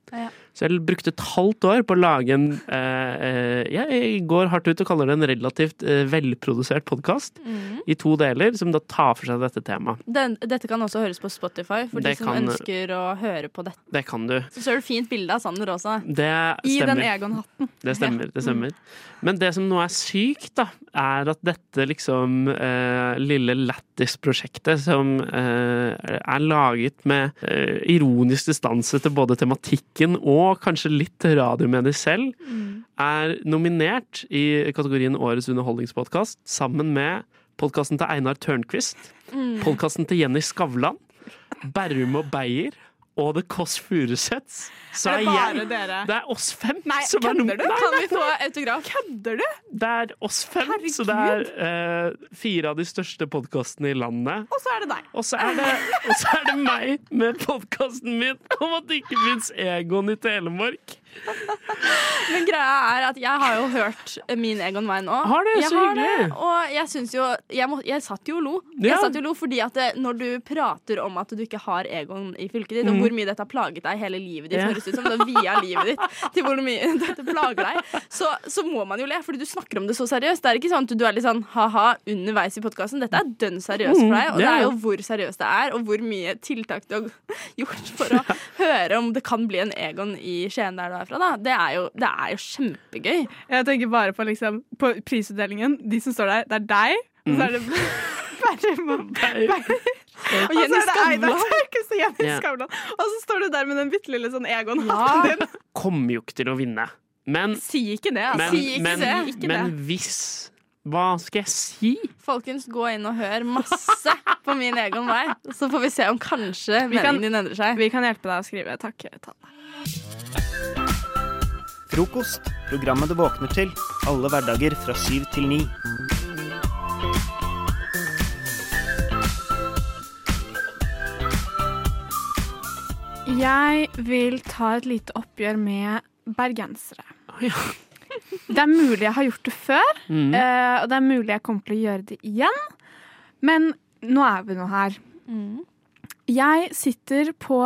Så jeg brukte et halvt år på å lage en eh, eh, Jeg går hardt ut og kaller det en relativt eh, velprodusert podkast i to deler, som da tar for seg dette temaet.
Mhm. Den, dette kan også høres på Spotify for
Det
de som
kan- eh,
ønsker å høre på dette.
Det kan du.
Så ser du fint bilde av Sander også.
Det
I
stemmer.
den Egon-hatten.
Det stemmer. det stemmer. Men det som nå er sykt, da, er at dette liksom eh, lille Lattis-prosjektet, som eh, er laget med eh, ironisk distanse til både tematikken og kanskje litt radiomedier selv,
Mm.
er nominert i kategorien Årets underholdningspodkast sammen med podkasten til Einar Tørnquist,
Mm.
podkasten til Jenny Skavlan, Berrum og Beyer og The Kåss Furuseths. Så
Er det bare dere?
Det er oss fem
Nei,
som er
kødder du?
Nei,
Kan
nei,
vi få autograf? Kødder du?
Det er oss fem, så det er eh, fire av de største podkastene i landet.
Og så er det deg.
Og så er det, og så er det meg med podkasten min om at det ikke fins Egon i Telemark.
Men greia er at jeg har jo hørt min Egon Wein nå.
Har du?
Jeg
Så
har
hyggelig.
det, Og jeg syns jo jeg, må, jeg satt jo og lo.
Ja.
Jeg satt jo og lo fordi at det, når du prater om at du ikke har Egon i fylket ditt, og
Mm.
hvor mye dette har plaget deg hele livet ditt,
Ja.
høres ut som det via livet ditt til hvor mye dette plager deg, så, så må man jo le, fordi du snakker om det så seriøst. Det er ikke sånn at du er litt sånn ha-ha underveis i podkasten. Dette er dønn seriøst for deg,
Mm,
og det
ja,
er
ja.
jo hvor seriøst det er, og hvor mye tiltak du har gjort for å høre om det kan bli en Egon i Skien der du er fra, da. Det er jo, det er jo kjempegøy.
Jeg tenker bare på, liksom, på prisutdelingen. De som står der, det er deg. Og så er det
Mm.
Berrum og Beyer. Og Jenny
Og så er det Einar
Skavlan. Så Jenny
Ja.
Skavlan. Og så står du der med den bitte lille sånn Egon-hatten din.
Kommer jo ikke til å vinne. Men,
Si ikke det, altså.
men,
si ikke
men,
det. Ikke
men
det.
hvis Hva skal jeg si?
Folkens, gå inn og hør masse på min egen vei, så får vi se om kanskje
Vi kan-
meningen din endrer seg.
Vi kan hjelpe deg å skrive. Takk. Tale.
Frokost. Programmet du våkner til. Alle hverdager fra syv til ni.
Jeg vil ta et lite oppgjør med bergensere. Det er mulig jeg har gjort det før,
Mm.
eh, og det er mulig jeg kommer til å gjøre det igjen. Men nå er vi nå her. Jeg sitter på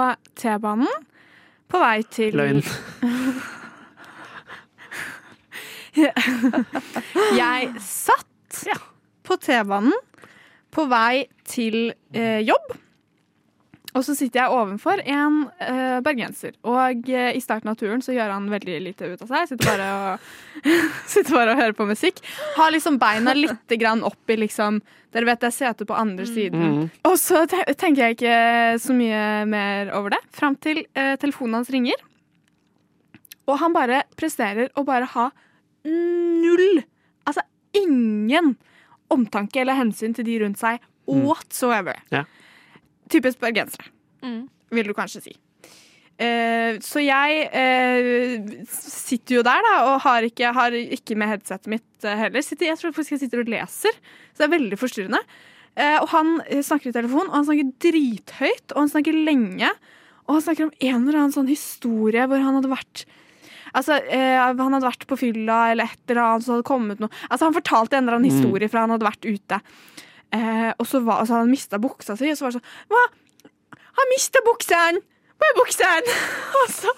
T-banen på vei til
Løgn.
Jeg satt på T-banen på vei til eh, jobb. Og så sitter jeg ovenfor en eh, bergenser. Og eh, i starten av turen så gjør han veldig lite ut av seg. Sitter bare og, sitter bare og hører på musikk. Har liksom beina litt grann opp i liksom Dere vet det er sete på andre siden.
Mm.
Mhm.
Og så te tenker jeg ikke så mye mer over det. Fram til eh, telefonen hans ringer. Og han bare presterer å bare ha null, altså ingen omtanke eller hensyn til de rundt seg whatsoever.
Ja.
Typisk bergensere, vil du kanskje si. Eh, så jeg eh, sitter jo der, da, og har ikke, har ikke med headsetet mitt eh, heller. Sitter, jeg tror faktisk jeg sitter og leser, så det er veldig forstyrrende. Eh, og han eh, snakker i telefon, og han snakker drithøyt, og han snakker lenge. Og han snakker om en eller annen sånn historie hvor han hadde vært Altså, eh, Han hadde vært på fylla eller et eller annet, så hadde det kommet noe Altså, Han fortalte en eller annen
Mm.
historie fra han hadde vært ute. Eh, og så var, altså, han mista buksa si, og så var det sånn Hva? Han mista buksene! Hvor er buksene? og så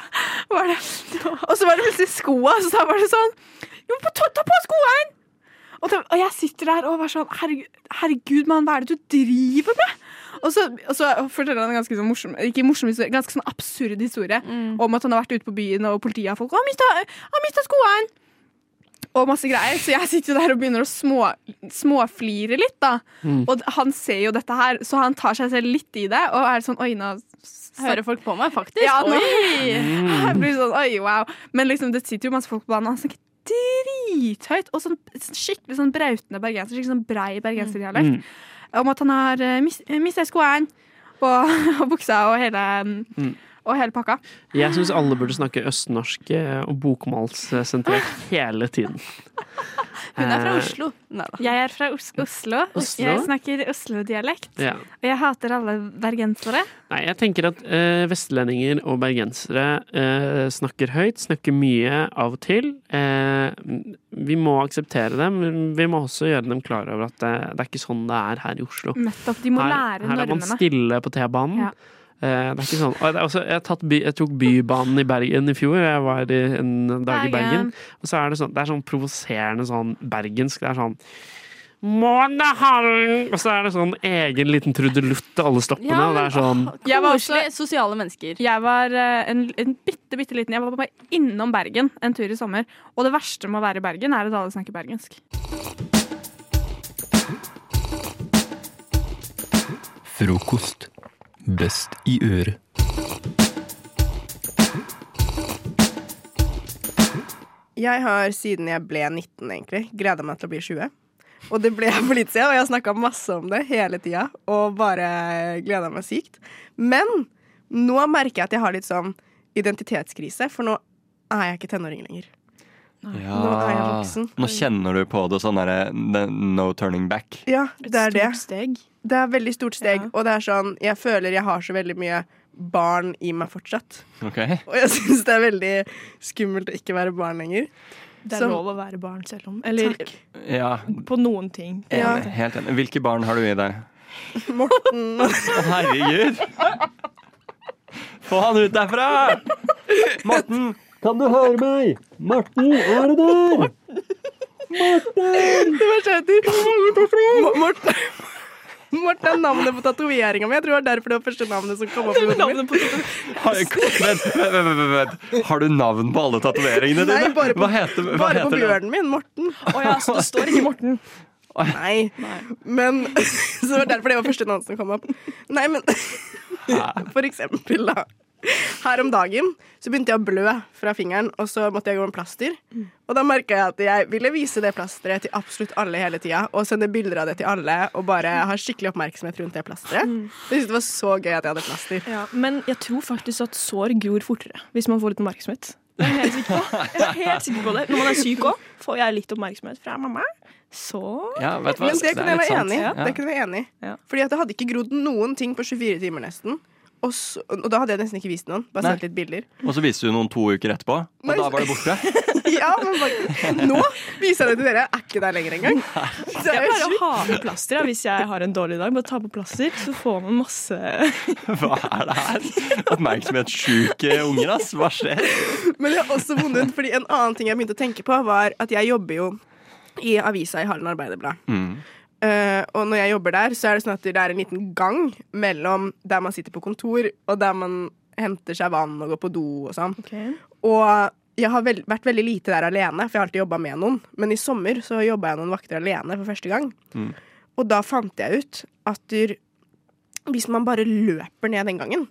var det Og så var det plutselig skoa, og så var det sånn Jo, få ta, ta på skoene! Og, da- og jeg sitter der og var sånn Herregud, herregud mann, hva er det du driver med? Og så, og så forteller han en ganske sånn morsom, ikke morsom historie, ganske sånn absurd historie Mm. om at han har vært ute på byen, og politiet har folk «Å, Han mista, han mista skoene! og masse greier. Så jeg sitter jo der og begynner å små, småflire litt, da.
Mm.
Og d- han ser jo dette her, så han tar seg selv litt i det, og er sånn oi, nå s-
Hører folk på meg, faktisk?
Ja, nå,
Oi!
jeg blir sånn oi, wow. Men liksom, det sitter jo masse folk på banen, og han snakker drithøyt, og sånn skikkelig sånn brautende bergenser, skikkelig sånn brei bergenserdialekt,
Mm.
om at han har eh, mis, mista skoene og, og buksa og hele,
Mm.
og hele pakka.
Jeg syns alle burde snakke østnorsk eh, og bokmålssentrert hele tiden.
Hun er fra
Mm.
Eh,
Oslo. Jeg er fra Os Oslo.
Oslo?
Jeg snakker Oslo-dialekt.
Ja.
Og jeg hater alle bergensere.
Nei, jeg tenker at eh, vestlendinger og bergensere eh, snakker høyt, snakker mye av og til. Eh, vi må akseptere dem, men vi må også gjøre dem klar over at det, det er ikke sånn det er her i Oslo.
Nettopp. De må
her,
lære
Her er man
normene.
stille på T-banen.
Ja.
Eh, det er ikke sånn. Og det er også, jeg, har tatt by, jeg tok Bybanen i Bergen i fjor. Jeg var i en dag i
Bergen.
Bergen. Og så er det sånn, det er sånn provoserende sånn bergensk. Det er sånn Månehallen! Og så er det sånn egen liten trudelutt til alle stoppene.
Ja,
og det
men,
er sånn
Jeg var også
sosiale mennesker.
Jeg var eh, en, en bitte, bitte liten Jeg var bare innom Bergen en tur i sommer. Og det verste med å være i Bergen, er at alle snakker bergensk.
Frokost. Best i øret.
Jeg har siden jeg ble 19, egentlig, gleda meg til å bli 20. Og det ble jeg for litt siden, og jeg har snakka masse om det hele tida og bare gleda meg sykt. Men nå merker jeg at jeg har litt sånn identitetskrise, for nå er jeg ikke tenåring lenger. Nå er jeg voksen.
Nå kjenner du på det sånn derre n- no turning back.
Ja, det er det. Det er et veldig stort steg, og det er sånn Jeg føler jeg har så veldig mye barn i meg fortsatt.
Ok?
Og jeg syns det er veldig skummelt å ikke være barn lenger.
Det er
Så-
lov å være barn selv om Eller
Ja.
på noen ting. på en
Enig,
måte.
Helt enig. Hvilke barn har du i deg?
Morten
Å, herregud! Få han ut derfra! Morten!
Kan du høre meg? Morten, er du der?
Det var Mo- Morten Morten er navnet på tatoveringa mi. Jeg tror det var derfor det var første navnet som kom opp. i hodet mitt.
Har, vent, vent, vent, vent, vent. har du navn på alle tatoveringene dine?
Nei, bare på,
hva heter, hva
bare på
heter den?
bjørnen min. Morten. Å ja, så det står ikke Morten. Nei. Men Så det var derfor det var første navn som kom opp. Nei, men For eksempel, da. Her om dagen så begynte jeg å blø fra fingeren, og så måtte jeg gå med plaster. Og da merka jeg at jeg ville vise det plasteret til absolutt alle hele tida, og sende bilder av det til alle, og bare ha skikkelig oppmerksomhet rundt det plasteret. Jeg syntes det var så gøy at jeg hadde plaster.
Mm. Ja, men jeg tror faktisk at sår gror fortere hvis man får litt oppmerksomhet. Jeg er helt sikker på, jeg er helt sikker på det. Når man er syk òg, får jeg litt oppmerksomhet fra mamma. Så
Ja, vet du hva?
Men det kunne jeg
litt
være
sant.
enig i.
Ja.
Det kunne jeg være enig i. Fordi at det hadde ikke grodd noen ting på 24 timer, nesten. Og, så, og da hadde jeg nesten ikke vist noen. Bare
Nei.
sendt litt bilder.
Og så viste du noen to uker etterpå, og
Nei.
da var det borte.
Ja, men faktisk, Nå viser jeg det til dere. Jeg er ikke der lenger engang.
Jeg pleier å ha med plaster jeg, hvis jeg har en dårlig dag. Bare ta på plaster, så får man masse
Hva er det her? Oppmerksomhetssjuke unger, ass. Hva skjer?
Men jeg har også vunnet, fordi
Mm.
en annen ting jeg begynte å tenke på, var at jeg jobber jo i avisa i Halden Arbeiderblad. Eh, og når jeg jobber der, så er det sånn at det er en liten gang mellom der man sitter på kontor, og der man henter seg vann og går på do og sånn. Og jeg har vel, vært veldig lite der alene, for jeg har alltid jobba med noen. Men i sommer så jobba jeg noen vakter alene for første gang.
Mm.
Og da fant jeg ut at der, hvis man bare løper ned den gangen,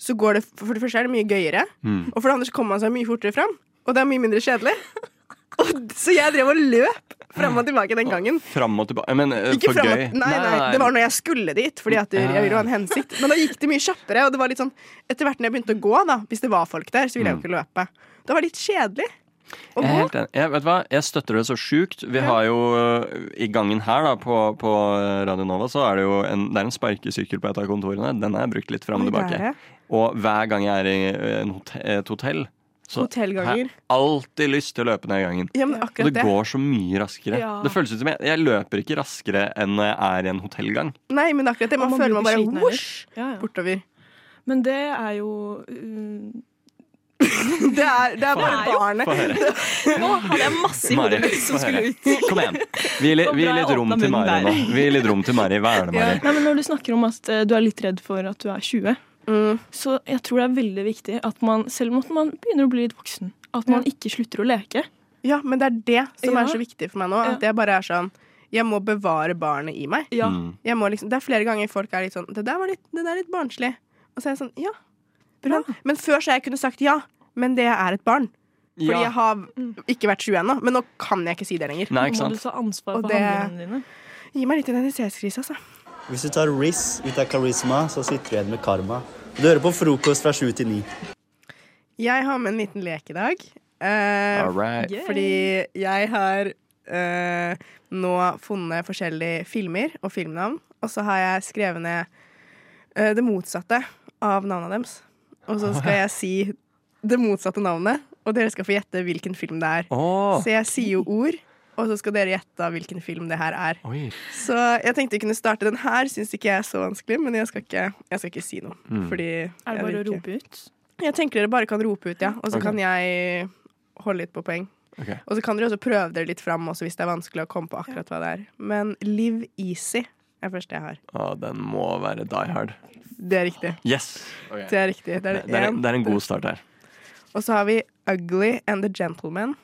så går det For det første er det mye gøyere,
Mm.
og for det andre så kommer man seg mye fortere fram. Og det er mye mindre kjedelig. Og, så jeg drev og løp fram og tilbake den gangen.
Fram og tilbake Men eh,
Ikke
for
fram og-
gøy.
Nei, nei, det var når jeg skulle dit, fordi at jeg ville ha en hensikt. Men da gikk det mye kjappere, og det var litt sånn Etter hvert når jeg begynte å gå, da, hvis det var folk der, så ville jeg
Mm.
jo ikke løpe. Det var litt kjedelig.
Jeg
Eh,
er helt enig. Jeg, vet du hva? jeg støtter det så sjukt. Vi har jo øh, i gangen her da, på, på eh, Radio Nova, så er det jo en, det er en sparkesykkel på et av kontorene. Den er brukt litt fram og
Oi, der, ja.
tilbake. Og hver gang jeg er i eh, en hot- et hotell, så har
Hotellganger.
jeg alltid lyst til å løpe ned gangen.
Ja, men
Og
akkurat
det
det.
går så mye raskere.
Ja.
Det føles ut som jeg, jeg løper ikke raskere enn når jeg er i en hotellgang.
Nei, men akkurat det. Man,
Og man
føler
blir
man bare
sliten heller.
wosj bortover.
Men det er jo uh,
Det er, det er bare
jo-
barnet.
Få høre.
Nå hadde jeg masse i
Mari,
hodet mitt som
få
skulle
høre.
ut.
Kom igjen. Vi gir litt- vi gir
bra jeg
litt rom
åpnet
til
munnen
Mari
der.
nå. Vi gir litt rom til Mari. Hva er det, Mari?
Nei, men når du snakker om at eh, du er litt redd for at du er 20, så jeg tror det er veldig viktig at man, selv om at man begynner å bli litt voksen, at man ikke slutter å leke.
Ja, men det er det som
Ja.
er så viktig for meg nå. At jeg bare er sånn Jeg må bevare barnet i meg.
Ja. Mm.
Jeg må liksom, det er flere ganger folk er litt sånn Det der var litt, det der er litt barnslig. Og så er jeg sånn Ja, bra. Men før så jeg kunne sagt ja, men det er et barn. Fordi
Ja.
jeg har ikke vært 20 ennå, men nå kan jeg ikke si det lenger.
Nei, ikke Nå må sant. du
ta ansvar
Og
for
det
handlingene dine.
gir meg litt identitetskrise, altså.
Hvis du tar Riz ut av karisma, så sitter du igjen med karma. Du hører på frokost fra sju til ni.
Jeg har med en liten lek i dag. eh,
All right. Yay.
Fordi jeg har eh, nå funnet forskjellige filmer og filmnavn, og så har jeg skrevet ned eh, det motsatte av navnet deres. Og så skal jeg si det motsatte navnet, og dere skal få gjette hvilken film det er.
Åh.
Så jeg sier jo ord, og så skal dere gjette hvilken film det her er. Så jeg tenkte jeg kunne starte den her. Syns ikke jeg er så vanskelig, men jeg skal ikke, jeg skal ikke si noe.
Mm.
Fordi
Er det
jeg
bare
vil
å
ikke-
rope ut?
jeg tenker dere bare kan rope ut, ja. Og så
Ok.
kan jeg holde litt på poeng.
Ok.
Og så kan dere også prøve dere litt fram også, hvis det er vanskelig å komme på akkurat hva det er. Men Live Easy er første jeg har.
Å, den må være Die Hard.
Det er riktig.
Yes! Ok.
Det er riktig. Det er det
det, er,
en.
det er en god start her.
Og så har vi Ugly and the Gentleman.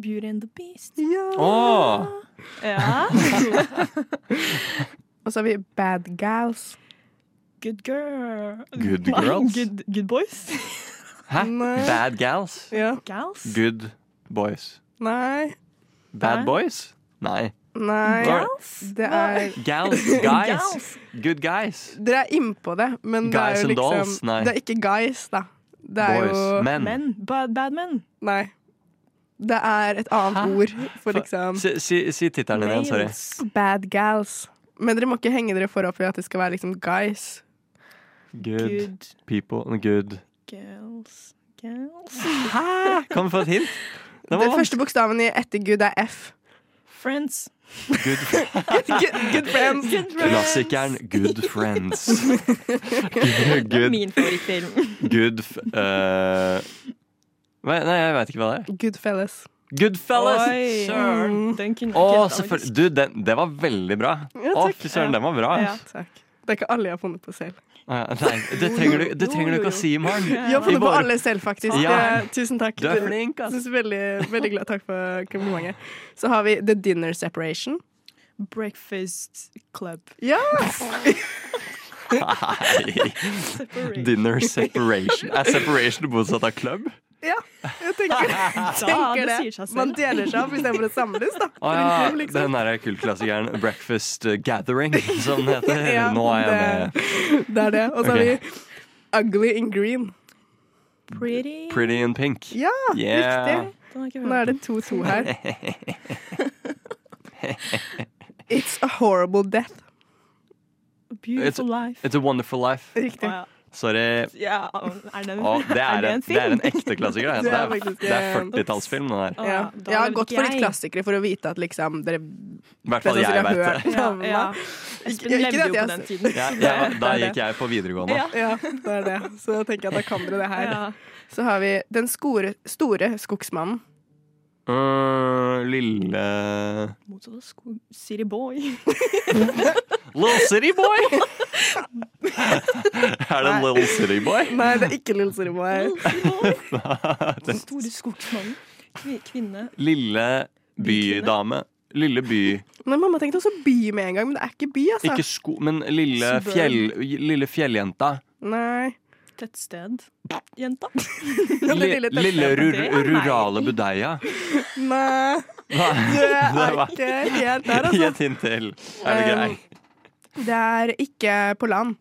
Beauty and the Beast.
Ja.
Åh.
Ja.
Og så har vi Bad Gals.
Good girl.
Good
Nei,
girls?
Good, good boys.
Hæ? Bad gals?
Ja.
Gals?
Good boys.
Nei.
Bad boys? Nei.
Nei.
Hva er det?
Det er
Gals. Guys. Good guys.
Dere er innpå det, men det er jo
Guys and
liksom
dolls? Nei.
Det er ikke guys, da. Det er jo
Boys. Men.
Bad, bad men.
Nei. Det er et annet ord for liksom
Si, si, si tittelen din igjen, sorry.
Bad gals. Men dere må ikke henge dere for opp i at det skal være liksom guys.
Good, people Good
Gals,
Hæ? Kan vi få et hint? Det
Den
var
første bokstaven i etter good er F.
Friends.
Good
good, good friends.
Klassikeren Good Friends.
Det er
Good,
min favorittfilm.
good f... eh, hva- Nei, jeg veit ikke hva det er.
Good fellas.
Goodfellas!
Oi. Mm,
Søren!
Den kunne
Å,
ikke jeg
selvfølgelig. Du, den, det var veldig bra.
Ja,
Å,
takk.
fy søren, den var bra.
Ja, takk. Det er ikke alle jeg har funnet på selv.
Å, ja, Nei, det trenger du, det trenger du ikke å si i morgen.
Jeg har
I
funnet på
vår-
alle selv, faktisk.
Ja.
Det- Tusen takk.
Du er flink,
ass. Veldig, veldig glad. Takk for komplimentet. Så har vi The Dinner Separation.
Breakfast Club.
Ja!
Nei. Dinner separation. Er separation motsatt av club?
Ja, jeg tenker, tenker
det
det.
sier seg selv.
Man deler seg opp istedenfor å samles, da.
Å ja,
liksom.
den derre kultklassikeren Breakfast eh, Gathering, som den heter.
Ja,
Nå er jeg
det-
med.
Det er det. Og så har
Ok.
vi Ugly in Green.
Pretty.
Pretty in pink.
Ja,
Yeah.
riktig. Nå er det 2-2 her. It's a horrible death.
It's, it's a wonderful life.
Riktig.
Sorry.
Ja, er det,
Å, det, er en, det er en ekte klassiker. Det,
Det er
det er,
faktisk
det er
en-
40-tallsfilm, den der.
Ja.
da
Jeg har
vet
gått
ikke
for litt
jeg.
klassikere for å vite at liksom dere
I hvert fall
fleste
jeg
sikkert
vet
har
det.
hørt om
Ja,
meg.
ja.
Ikke-
Espen
ikke
levde
at
jo
jeg-
på den tiden.
Ja,
Det
sånn- ja,
er
da
det.
gikk jeg på videregående.
Ja. det er det. Så da tenker jeg at da kan dere det her. Så har vi Den skore, store skogsmannen.
Øh, lille
Motsatt av skog... City boy.
Little City Boy! er det
Nei.
Little City Boy?
Nei, det er ikke Little City Boy.
Den
Store skogsmannen. Kvi- Kvinne.
Lille bydame. Lille by.
Nei, mamma tenkte også by med en gang, men det er ikke by, altså.
Ikke sko... Men lille,
Suburb.
fjell, lille fjelljenta.
Nei.
Tettsted. Jenta.
Li-
lille tettstedet.
Lille rur,
Det er meg.
rurale budeia.
Nei.
Hva?
Det er
var-
ikke helt der, altså.
Gi et hint til. Er du grei?
Um,
Det er ikke på land.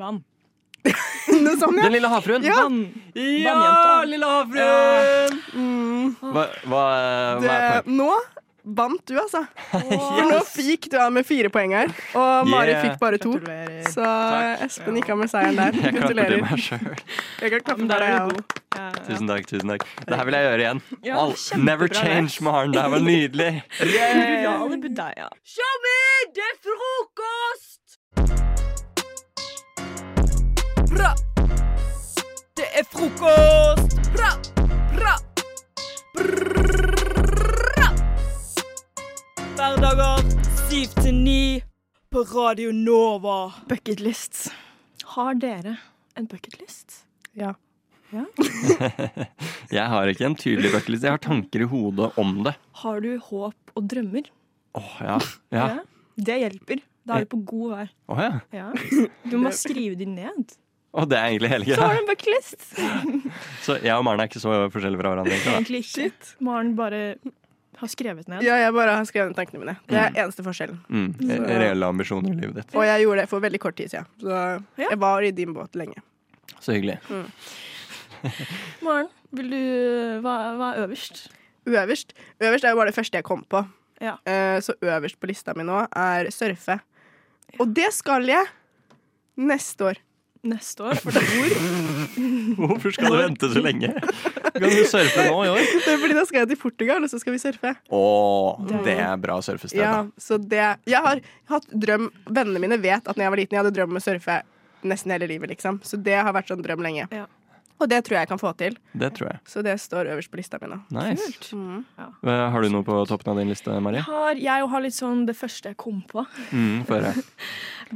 Vann.
Noe sånt, ja.
Den lille havfruen?
Ja.
Vann.
Ja,
lille havfruen!
Mm.
Hva, hva, hva er
Det,
poenget?
Eh, nå vant du, altså. For nå fikk du av med fire poeng her, og Mari
Yeah.
fikk bare to. Så Espen gikk av med seieren der.
Jeg klapper til
Gratulerer.
meg sjøl.
Jeg kan klappe for deg, jeg òg.
Tusen takk. tusen takk Det her vil jeg gjøre igjen.
Ja,
All,
kjempebra,
never
det.
change, Maren. Det her var nydelig.
Rurale budeia.
Tommy, det er frokost!
Bra! Det er frokost! Bra! Bra! Bra! Hverdager 7 til 9 på Radio Nova.
Bucketlist. Har dere en bucketlist? Ja.
Jeg har ikke en tydelig bucketlist. Jeg har tanker i hodet om det.
Har du håp og drømmer?
Åh, ja. Ja.
Ja. Det hjelper. Da er du på god vei.
Åh, ja.
Ja. Du må skrive de ned.
Åh, det er egentlig hele
Så har
greia.
du en bucketlist.
Så jeg og Maren er ikke så forskjellige fra hverandre. egentlig,
Egentlig ikke. Maren bare har skrevet ned.
Ja, jeg bare har skrevet ned tankene mine. Det er eneste forskjellen.
da. Mm. re- Reelle ambisjoner i livet ditt.
Og jeg gjorde det for veldig kort tid siden, så jeg var i din båt lenge.
Så hyggelig.
Mm.
Maren, vil du, hva, hva er øverst?
Øverst Øverst er jo bare det første jeg kom på.
Ja.
Eh, Så øverst på lista mi nå er surfe. Og det skal jeg neste år.
Neste år? For hvor?
Hvorfor skal du vente så lenge? Kan du surfe nå i år?
Det er fordi nå skal jeg til Portugal, og så skal vi surfe.
Åh,
Det-
det er bra surfested,
Ja,
da.
så det Jeg har hatt drøm Vennene mine vet at når jeg var liten, jeg hadde drøm om å surfe nesten hele livet, liksom. Så det har vært sånn drøm lenge. Og det tror jeg jeg kan få til.
Det tror jeg.
Så det står øverst på lista mi nå.
Nice.
Mm.
Eh, Har du noe på toppen av din liste, Marie?
Har, jeg har litt sånn det første jeg kom på.
Mm, Få høre.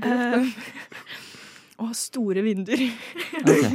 Eh, Å ha store vinduer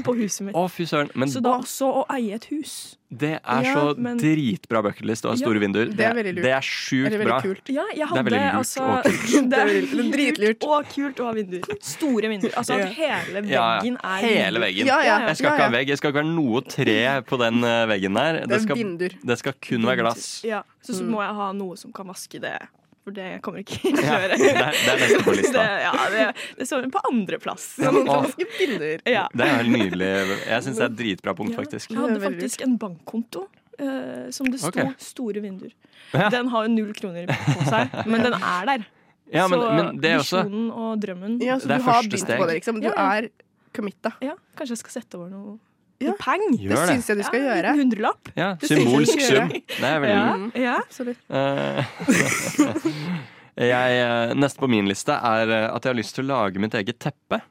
på huset mitt.
Å, fy søren. Men
Så da også å eie et hus.
det er
Ja,
så
men-
dritbra bucketlist å ha store
Ja,
vinduer.
det er veldig lurt.
Det er sjukt
Eller veldig
bra.
kult. Ja, jeg hadde
det er veldig lurt
altså-
og kult.
Det er
veldig-
veldig dritlurt og kult å ha vinduer. Store vinduer. Altså at hele
Ja, ja.
veggen er
Hele
vinduer.
veggen.
Ja, ja.
Jeg skal
Ja,
ikke
ja.
ha vegg. Jeg skal ikke være noe tre på den eh, veggen der.
Det er
skal,
vinduer.
det skal kun være glass.
Ja, så, så Mm. må jeg ha noe som kan vaske det. For det kommer ikke til å
Ja,
gjøre.
det er- det er neste på lista.
Det, ja, det, det står på andreplass.
Ja, men Å. vaske
Ja.
Det er helt nydelig. Jeg syns det er et dritbra punkt, faktisk.
Jeg hadde faktisk en bankkonto eh, som det sto
Ok.
store vinduer.
Ja.
Den har jo null kroner på seg, men den er der.
Ja, men-
så
men det er også-
visjonen og drømmen
Ja, så Det er du har første begynt på steg. det, liksom. Du er committa.
Ja, kanskje jeg skal sette over noe noe peng.
Gjør Det det. synes
jeg du skal
ja, En liten hundrelapp.
Ja,
Det synes jeg du
symbolsk
skal gjøre.
sum. Det er veldig
ja,
lurt.
ja.
Eh, jeg, eh, neste på min liste er eh, at jeg har lyst til å lage mitt eget teppe.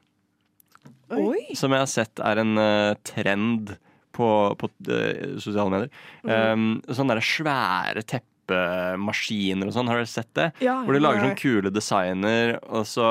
Oi.
Som jeg har sett er en eh, trend på, på eh, sosiale medier.
Mhm.
Um, sånne der svære teppemaskiner og sånn. Har dere sett det?
Ja, ja.
Hvor de lager
Nei.
sånne kule designer. Og så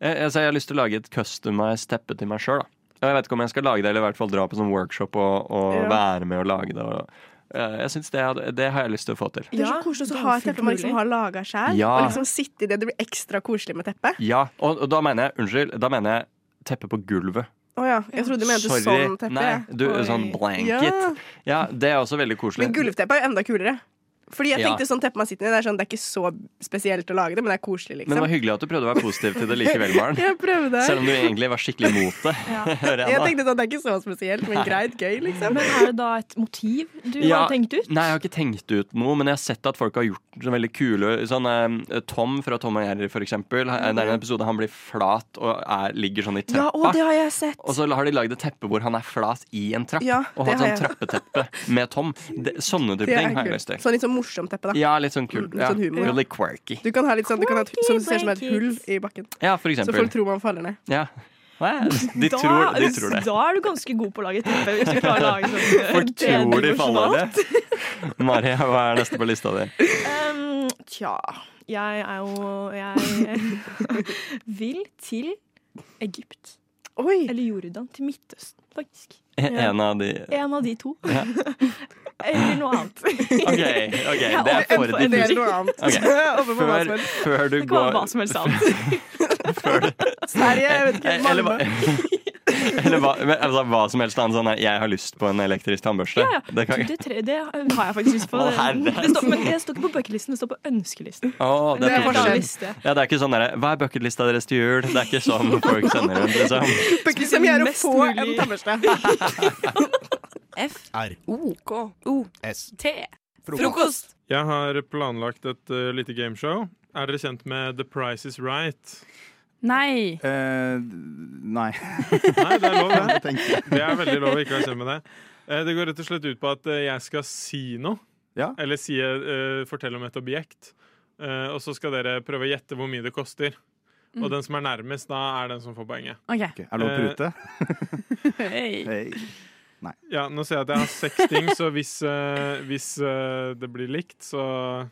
jeg, jeg, så jeg har lyst til å lage et customized teppe til meg sjøl. Jeg vet ikke om jeg skal lage det, eller i hvert fall dra på sånn workshop og, og
Ja.
være med og lage det. Og, eh, jeg synes det, hadde- det har jeg lyst til å få til.
Det er så koselig å ha et teppe man liksom har laga sjæl.
Ja.
Og liksom sitte i det. Det blir ekstra koselig med teppe.
Ja, og, og da mener jeg Unnskyld, da mener jeg teppe på gulvet.
Å ja. Jeg trodde du mente
Sorry.
sånn teppe.
Nei, du,
Oi.
sånn blanket.
Ja.
Ja. det er også veldig koselig.
Men gulvteppe er jo enda kulere. Fordi jeg
Ja.
tenkte sånn teppe man sitter i, det er, sånn, det er ikke så spesielt å lage det, men det er koselig, liksom.
Men det var hyggelig at du prøvde å være positiv til det likevel, Maren.
Jeg prøvde.
Selv om du egentlig var skikkelig imot det. hører
Jeg
da.
tenkte sånn, det er ikke så spesielt, men
Nei.
greit, gøy, liksom.
Men er det da et motiv du
Ja,
har tenkt ut?
Nei, jeg har ikke tenkt ut noe, men jeg har sett at folk har gjort det veldig kule sånn, eh, Tom fra Tom og Jerry, for eksempel. eh, Det er en episode han blir flat og er, ligger sånn i
Ja,
trappa.
å, det har jeg sett.
Og så har de lagd et teppe hvor han er flat i en trapp.
Ja,
og
det
hatt
har
sånn
jeg.
trappeteppe med Tom. Det, sånne type
Det er
ting har jeg
kult.
lyst til.
Sånn litt sånn morsomt teppe, da.
Ja, litt sånn kult.
Mm,
Ja.
sånn humor.
Really quirky.
Du kan ha litt sånn, du kan ha et, sånn det ser ut som et hull i bakken.
Ja, for
Så
eksempel.
folk tror man faller ned.
Ja. Nei, de tror, de tror det. sånn-
Da er du ganske god på å lage teppe. Hvis du klarer å lage sånn eh,
Folk tror de faller
tredimensjonalt.
det. Maria, hva er neste på lista di?
Ehm, tja Jeg er jo Jeg vil til Egypt. Eller Jordan. Til Midtøsten, faktisk.
E, En av de
En av de to.
Ja.
Eller noe annet.
OK, ok, det er for
En del noe annet.
diffust. Ok,
Over på hva som
Før,
helst.
før du
Det kan være
går
hva som helst annet. Sverige, jeg vet ikke.
Eh, Eller
Malmö.
Eller hva, men, altså, hva som helst annet sånn her, Jeg har lyst på en elektrisk tannbørste.
Ja, ja.
Det kan,
Det, tre, det har jeg faktisk lyst på.
Å,
Det,
herre.
det står, men det står ikke på bucketlisten, det står på ønskelisten.
Å, det er
Det er
forskjell.
liste.
Ja, det er ikke sånn derre Hva er bucketlista deres til jul? Det er ikke sånn folk sender rundt, liksom.
Bucket som gjør å få en tannbørste.
F-R-O-K-O-S-T.
Frokost.
Jeg har planlagt et eh, lite gameshow. Er dere kjent med The Price Is Right?
Nei.
nei.
Nei, det er lov,
Jeg
det.
tenker.
Det er veldig lov å ikke være kjent med det. Eh, Det går rett og slett ut på at eh, jeg skal si noe. Eller si, eh, fortelle om et objekt. Eh, og så skal dere prøve å gjette hvor mye det koster. Og
Mm.
den som er nærmest, da er den som får poenget.
Ok. Ok, er det lov å
Eh,
prute? Hei.
Ja, nå ser jeg at jeg har seks ting, så hvis, eh, hvis eh, det blir likt, så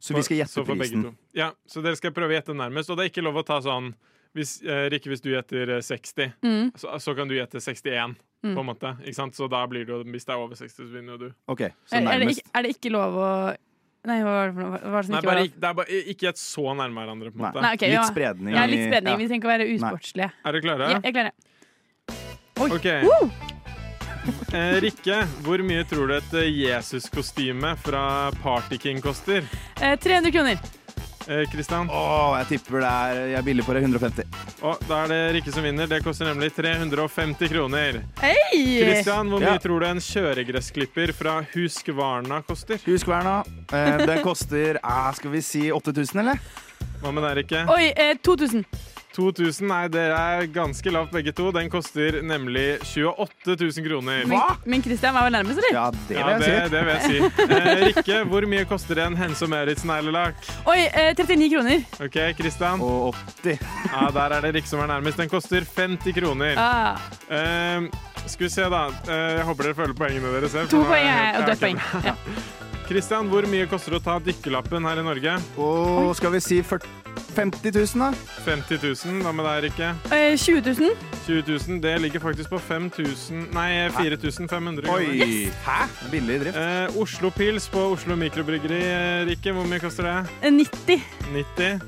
Så vi skal gjette
så får begge
prisen.
to. Ja, så dere skal prøve å gjette nærmest. Og det er ikke lov å ta sånn hvis, eh, Rikke, hvis du gjetter eh, 60,
Mm.
så, så kan du gjette 61,
Mm.
på en måte. Ikke sant? Så da blir det jo Hvis det er over 60, så vinner jo du.
OK, så
Er, er, det
nærmest.
ikke, er det ikke lov å Nei, hva var det for noe? Hva var det som
Nei,
ikke
bare,
var lov?
ikke- det er bare i- ikke gjett så nærme hverandre, på en måte.
Nei, ok, ja. Ja, litt spredning. Vi trenger ikke å være usportslige.
Er dere klare?
Ja, jeg klarer det. Oi.
OK. Eh, Rikke, hvor mye tror du et eh, Jesus-kostyme fra Party King koster?
Eh, 300 kroner.
Eh, Kristian?
Å, jeg tipper det er Jeg er billig på det. 150.
Og da er det Rikke som vinner. Det koster nemlig 350 kroner.
Hei!
Kristian, hvor mye
Ja.
tror du en kjøregressklipper fra Huskvarna koster?
Huskverna. Eh, den koster eh, Skal vi si 8000, eller?
Hva med deg, Rikke?
Oi, eh, 2000.
2000, nei, dere er ganske lavt begge to. Den koster nemlig 28 000 kroner.
Men, men Christian var vel nærmest, eller?
Ja,
Ja, det, det vil jeg si. Eh, Rikke, hvor mye koster en Hense og Maurits-neglelakk?
Oi, eh, 39 kroner.
OK, Kristian?
Og 80.
Ja, Der er det Rikke som er nærmest. Den koster 50 kroner.
Ah.
Eh, skal vi se, da. Eh, jeg håper dere føler poengene deres. selv, for
To
nå er
poeng eh,
jeg helt
og
jævlig.
dødt poeng. Ja.
Kristian, hvor mye koster det å ta dykkerlappen her i Norge?
Og skal vi si 40 50 000, da?
50 000. Hva med deg, Rikke?
Eh, 20 000.
20 000. Det ligger faktisk på 5000 Nei, 4500 kroner.
Oi. Yes. Hæ? Billig drift.
Eh, Oslo Pils på Oslo Mikrobryggeri, eh, Rikke. Hvor mye koster det?
Eh, 90.
90.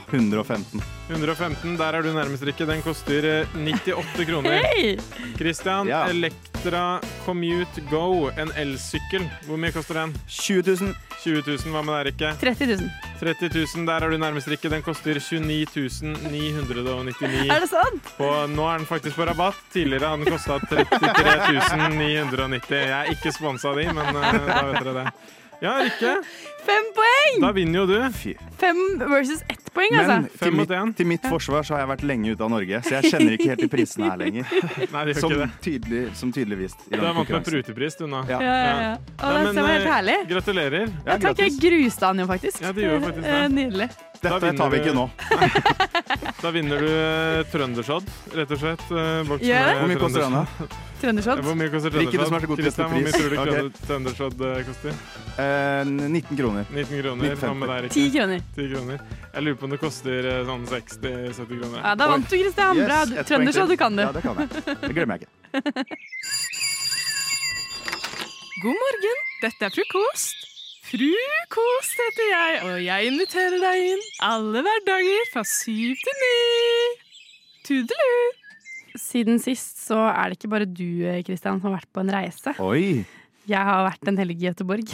115.
115. Der er du nærmest, Rikke. Den koster eh, 98 kroner.
Hei!
Kristian,
Ja.
Elektra Commute Go, en elsykkel. Hvor mye koster den?
20 000.
20 000. Hva med deg, Rikke?
30 000.
30 000. Der er du nærmest, Rikke. Den koster 29 999.
Er det sant?
På, nå er den faktisk på rabatt. Tidligere har den kosta 33 990. Jeg er ikke sponsa av de, men eh, da vet dere det. Ja, Rikke.
Fem poeng!
Da vinner jo du.
Fem Mm, versus ett poeng, altså.
Men til mitt, til mitt forsvar så har jeg vært lenge ute av Norge, så jeg kjenner ikke helt de prisene her lenger.
Nei, det gjør
som,
ikke det.
tydelig, som tydelig vist. i
Du
den
er vant med
konkurransen.
prutepris, du nå.
Ja.
Ja, ja, ja. Å,
Nei,
det
men,
var helt
eh,
herlig.
Gratulerer.
Ja,
Jeg takk, jeg gruste han jo faktisk.
Ja, det gjorde faktisk det.
Eh, Nydelig.
Da
Dette
vinner
tar vi
du-
ikke nå.
Da vinner du eh, trøndersodd, rett og slett. eh, boksen
Gjør det?
med
Hvor mye koster den, da?
Trøndershot.
Hvor mye koster
Rikke, du som er så
trøndersodd?
god til å
Kristian, hvor mye
sette
tror du
pris.
trønder- trøndersodd eh, koster?
Eh, 19 kroner.
19 kroner. Hva med deg, Rikke?
10
kroner.
10 kroner. Jeg lurer på om det koster eh, sånn 60-70 kroner.
Ja, da vant du, Kristian.
Yes,
Bra.
ett poeng
Trøndershot,
til.
du kan du.
Ja, det kan jeg. Det glemmer jeg ikke.
God morgen, dette er frokost. Frukost heter jeg, og jeg inviterer deg inn alle hverdager fra syv til ni. Tudelu! Siden sist så er det ikke bare du, Kristian, som har vært på en reise.
Oi!
Jeg har vært en helg i Gøteborg.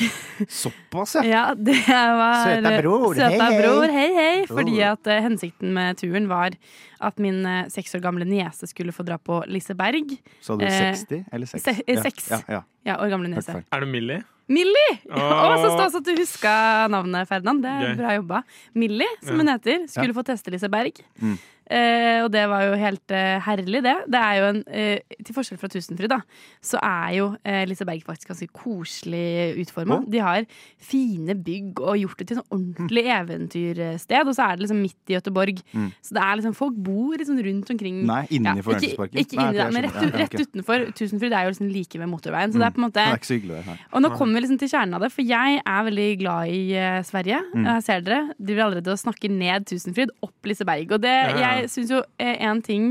Såpass,
ja. det var
Søta bror,
Søta
hei, hei.
bror, hei, hei.
Bror.
Fordi at eh, hensikten med turen var at min eh, seks år gamle niese skulle få dra på Liseberg.
Sa du
Eh,
60 eller 6?
se- eh, seks.
Ja, ja,
Ja, år gamle niese.
Er det Millie?
Millie!
Åh.
Å, så stas at du huska navnet, Ferdinand. Det er
Gøy.
bra jobba. Millie, som
Ja.
hun heter, skulle
Ja.
få teste Liseberg.
Mm.
Eh, og det var jo helt eh, herlig, det. Det er jo en, eh, Til forskjell fra Tusenfryd, da, så er jo eh, Liseberg faktisk ganske koselig utforma.
Ja.
De har fine bygg og gjort det til et ordentlig eventyrsted. Og så er det liksom midt i Gøteborg.
Mm.
Så det er liksom, folk bor liksom rundt omkring
Nei, inni fornøyelsesparken.
Ikke, ikke
Nei,
sånn,
inni
det
der, men
skjønner
rett,
jeg. Ja,
rett
ok.
utenfor. Tusenfryd er jo liksom like ved motorveien. Så det er på en måte
Det er ikke så hyggelig der. nei.
og nå kommer vi liksom til kjernen av det, for jeg er veldig glad i eh, Sverige.
Mm.
Her ser dere, De driver allerede og snakker ned Tusenfryd, opp Liseberg. Og det,
Ja, ja.
jeg synes jo eh, en ting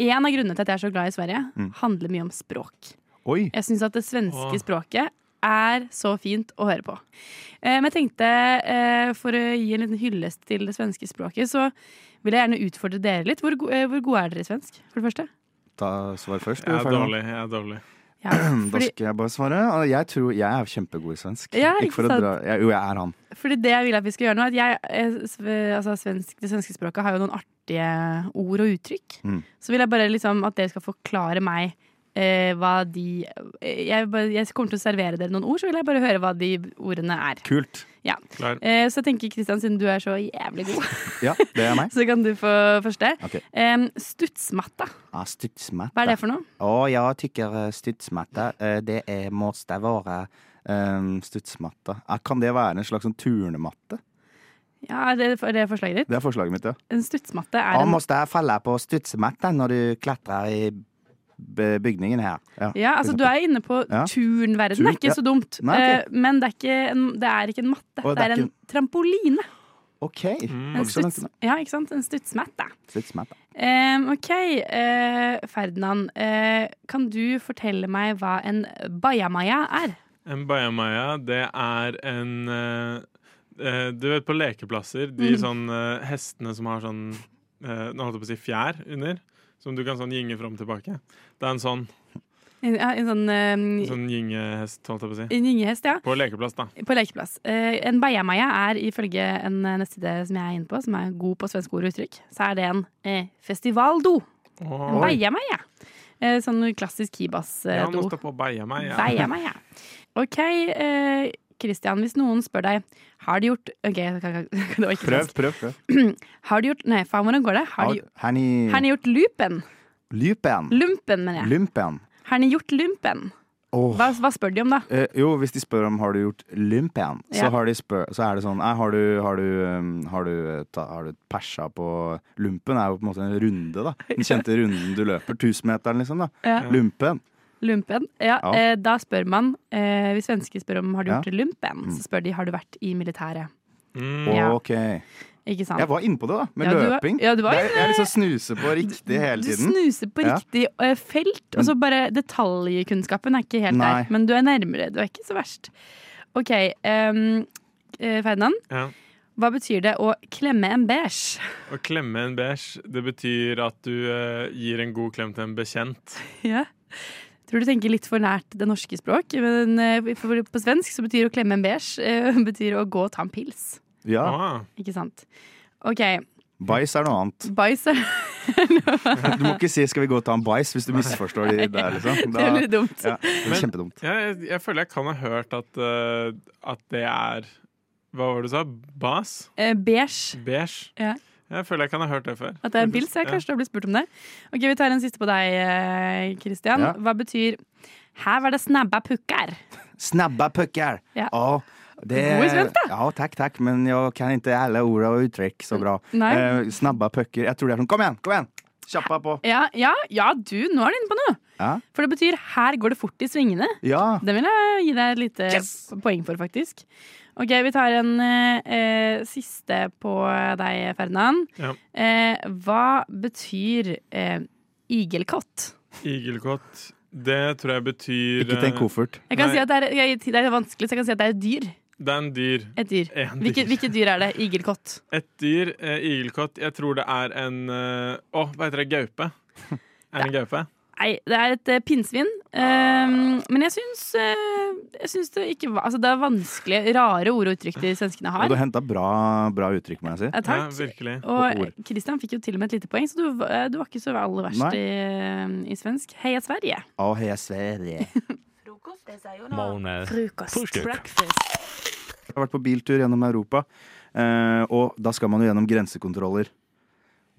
En av grunnene til at jeg er så glad i Sverige,
Mm.
handler mye om språk.
Oi.
Jeg syns at det svenske
Åh.
språket er så fint å høre på. Eh, Men jeg tenkte, eh, for å gi en liten hyllest til det svenske språket, så vil jeg gjerne utfordre dere litt. Hvor, go- eh, hvor gode er dere i svensk, for det første?
Ta svar først.
Jeg er
Ferdig nå.
dårlig. Jeg er dårlig.
Da
fordi-
skal jeg bare svare. Jeg tror jeg er kjempegod i svensk.
Ja, ikke
for å
sant?
dra jeg, Jo, jeg er han.
Fordi det jeg vil at vi skal gjøre nå, er at jeg, eh, sve- altså svensk, det svenske språket har jo noen artige ord og uttrykk.
Mm.
Så vil jeg bare liksom at dere skal forklare meg eh, hva de eh, jeg, bare, jeg kommer til å servere dere noen ord, så vil jeg bare høre hva de ordene er.
Kult.
Ja.
Klar.
Eh, så jeg tenker Kristian, siden du er så jævlig god,
Ja, det er meg.
så kan du få første.
Ok.
Eh, stutsmatta.
Ah,
Ja, studsmatta.
Hva er det for noe?
Å, jeg tykker eh, studsmatta, eh, det er måste være
Ehm, studsmatta. Eh, Kan det være en slags sånn turnematte?
Ja, er det, er det forslaget ditt?
Det er forslaget mitt, ja.
En stutsmatte er
Å,
en
måste falle på studsmatta når du klatrer i b- bygningen her.
Ja, altså Du er inne på
Ja.
turnverden. Det
Turn,
er ikke
ja.
så dumt.
Nei, ok.
Eh, Men det er ikke en, det er ikke en matte.
Å,
det, er en trampoline.
OK.
Mm.
Mm.
En, stuts, ja, ikke sant? en stutsmatte.
Studsmatta.
Em, OK, eh, Ferdinand. eh, kan du fortelle meg hva en bajamaya er?
En bajamaya, det er en eh, eh, Du vet på lekeplasser, de
Mm.
sånn eh, hestene som har sånn eh, Nå holdt jeg på å si fjær under, som du kan sånn gynge fram og tilbake. Det er en sånn,
En, ja, en sånn,
en
eh,
sånn gyngehest, holdt jeg på å si.
en gyngehest, ja.
På lekeplass, da.
På lekeplass. Eh, en bajamaya er ifølge en eh, nettside som jeg er inne på, som er god på svenske ord og uttrykk, så er det en eh, festivaldo. En
Oi.
bajamaya. Eh, sånn klassisk eh,
Ja,
kibas-do.
nå står på bajamaya.
Bajamaya. OK, eh, Christian, hvis noen spør deg Har du gjort OK, det var ikke
Prøv, prøv. prøv.
svensk. Har du gjort Nei, faen, hvordan går det? Har du,
Har ni
har ni gjort lupen?
Lypen.
Lumpen, mener jeg.
Lumpen.
Har ni gjort lumpen?
Åh.
Hva, hva spør de om, da?
Eh, jo, hvis de spør om har du gjort lumpen,
Ja.
så, har de spør, så er det sånn nei, har, du, har, du, um, har, du, ta, har du persa på Lumpen er jo på en måte en runde, da. Den kjente runden du løper. Tusenmeteren, liksom. da
Ja.
Lumpen.
Lumpen? Ja,
Ja.
Eh, da spør man eh, Hvis svensker spør om har du
Ja.
gjort lumpen,
Mm.
så spør de har du vært i militæret.
Mm.
Ja.
Ok.
Ikke sant?
Jeg var inne på det, da. Med
Ja, du var-
løping.
ja, du var
Det er-
inne-
jeg liksom snuser på riktig hele
Du
tiden.
snuser på
Ja.
riktig eh, felt, og så bare detaljkunnskapen er ikke helt
Nei.
der. Men du er nærmere. Du er ikke så verst. OK, ehm, eh, Ferdinand.
Ja.
Hva betyr det å klemme en beige?
Å klemme en beige, det betyr at du eh, gir en god klem til en bekjent.
ja. Tror du tenker litt for nært det norske språk, men eh, for- på svensk så betyr å klemme en beige eh, betyr å gå og ta en pils.
Ja.
Ikke sant? OK.
Bæsj er noe annet.
Bæsj er
Du må ikke si 'skal vi gå og ta en bæsj' hvis du misforstår de der, liksom. Da-
Det blir dumt.
Ja, det blir
Men-
kjempedumt.
Ja, jeg, jeg føler jeg kan ha hørt at, eh, at det er Hva var det du sa? Bas?
eh, beige.
Beige?
Ja.
Jeg føler jeg kan ha hørt det før.
At det er en pils? Ja, kanskje du har blitt spurt om det. Ok, Vi tar en siste på deg, eh, Christian.
Ja.
Hva betyr 'her var det snabba pukkar'?
Snabba puckar.
Ja.
Å, det
God svensk,
Ja, takk, takk, men jeg kan ikke alle ord og uttrykk så bra.
Nei.
Eh, snabba pucker. Jeg tror det er sånn Kom igjen, kom igjen! Kjappa på.
Ja, ja, ja, du, nå er du inne på noe!
Ja.
For det betyr 'her går det fort i svingene'.
Ja.
Den vil jeg gi deg et lite poeng for, faktisk. Ok, Vi tar en eh, eh, siste på deg, Ferdinand.
Ja.
Eh, hva betyr eh, igelkott?
Igelkott. Det tror jeg betyr
Ikke tenk
eh,
koffert.
Jeg kan
nei,
si at det er, jeg, det er vanskelig, så jeg kan si at det er et dyr.
Det er en dyr.
Et dyr.
En dyr.
Hvilket, hvilket dyr er det? Igelkott.
Et dyr. Eh, igelkott. Jeg tror det er en eh, Å, hva heter det? Gaupe? Er det en gaupe?
Nei, det er et eh, pinnsvin. Ehm, men jeg syns, eh, jeg syns det ikke var Altså, det er vanskelig, rare ord og uttrykk de svenskene
Og
har.
du henta bra, bra uttrykk, må jeg si.
Ja, takk.
Og ord.
Og Christian fikk jo til og med et lite poeng, så du, v- eh, du var ikke så aller verst
Nei.
i, eh, i svensk. Heia Sverige!
Å, heia Sverige.
Morgen.
Frokost.
Frühstück.
Jeg har vært på biltur gjennom Europa, eh, og da skal man jo gjennom grensekontroller.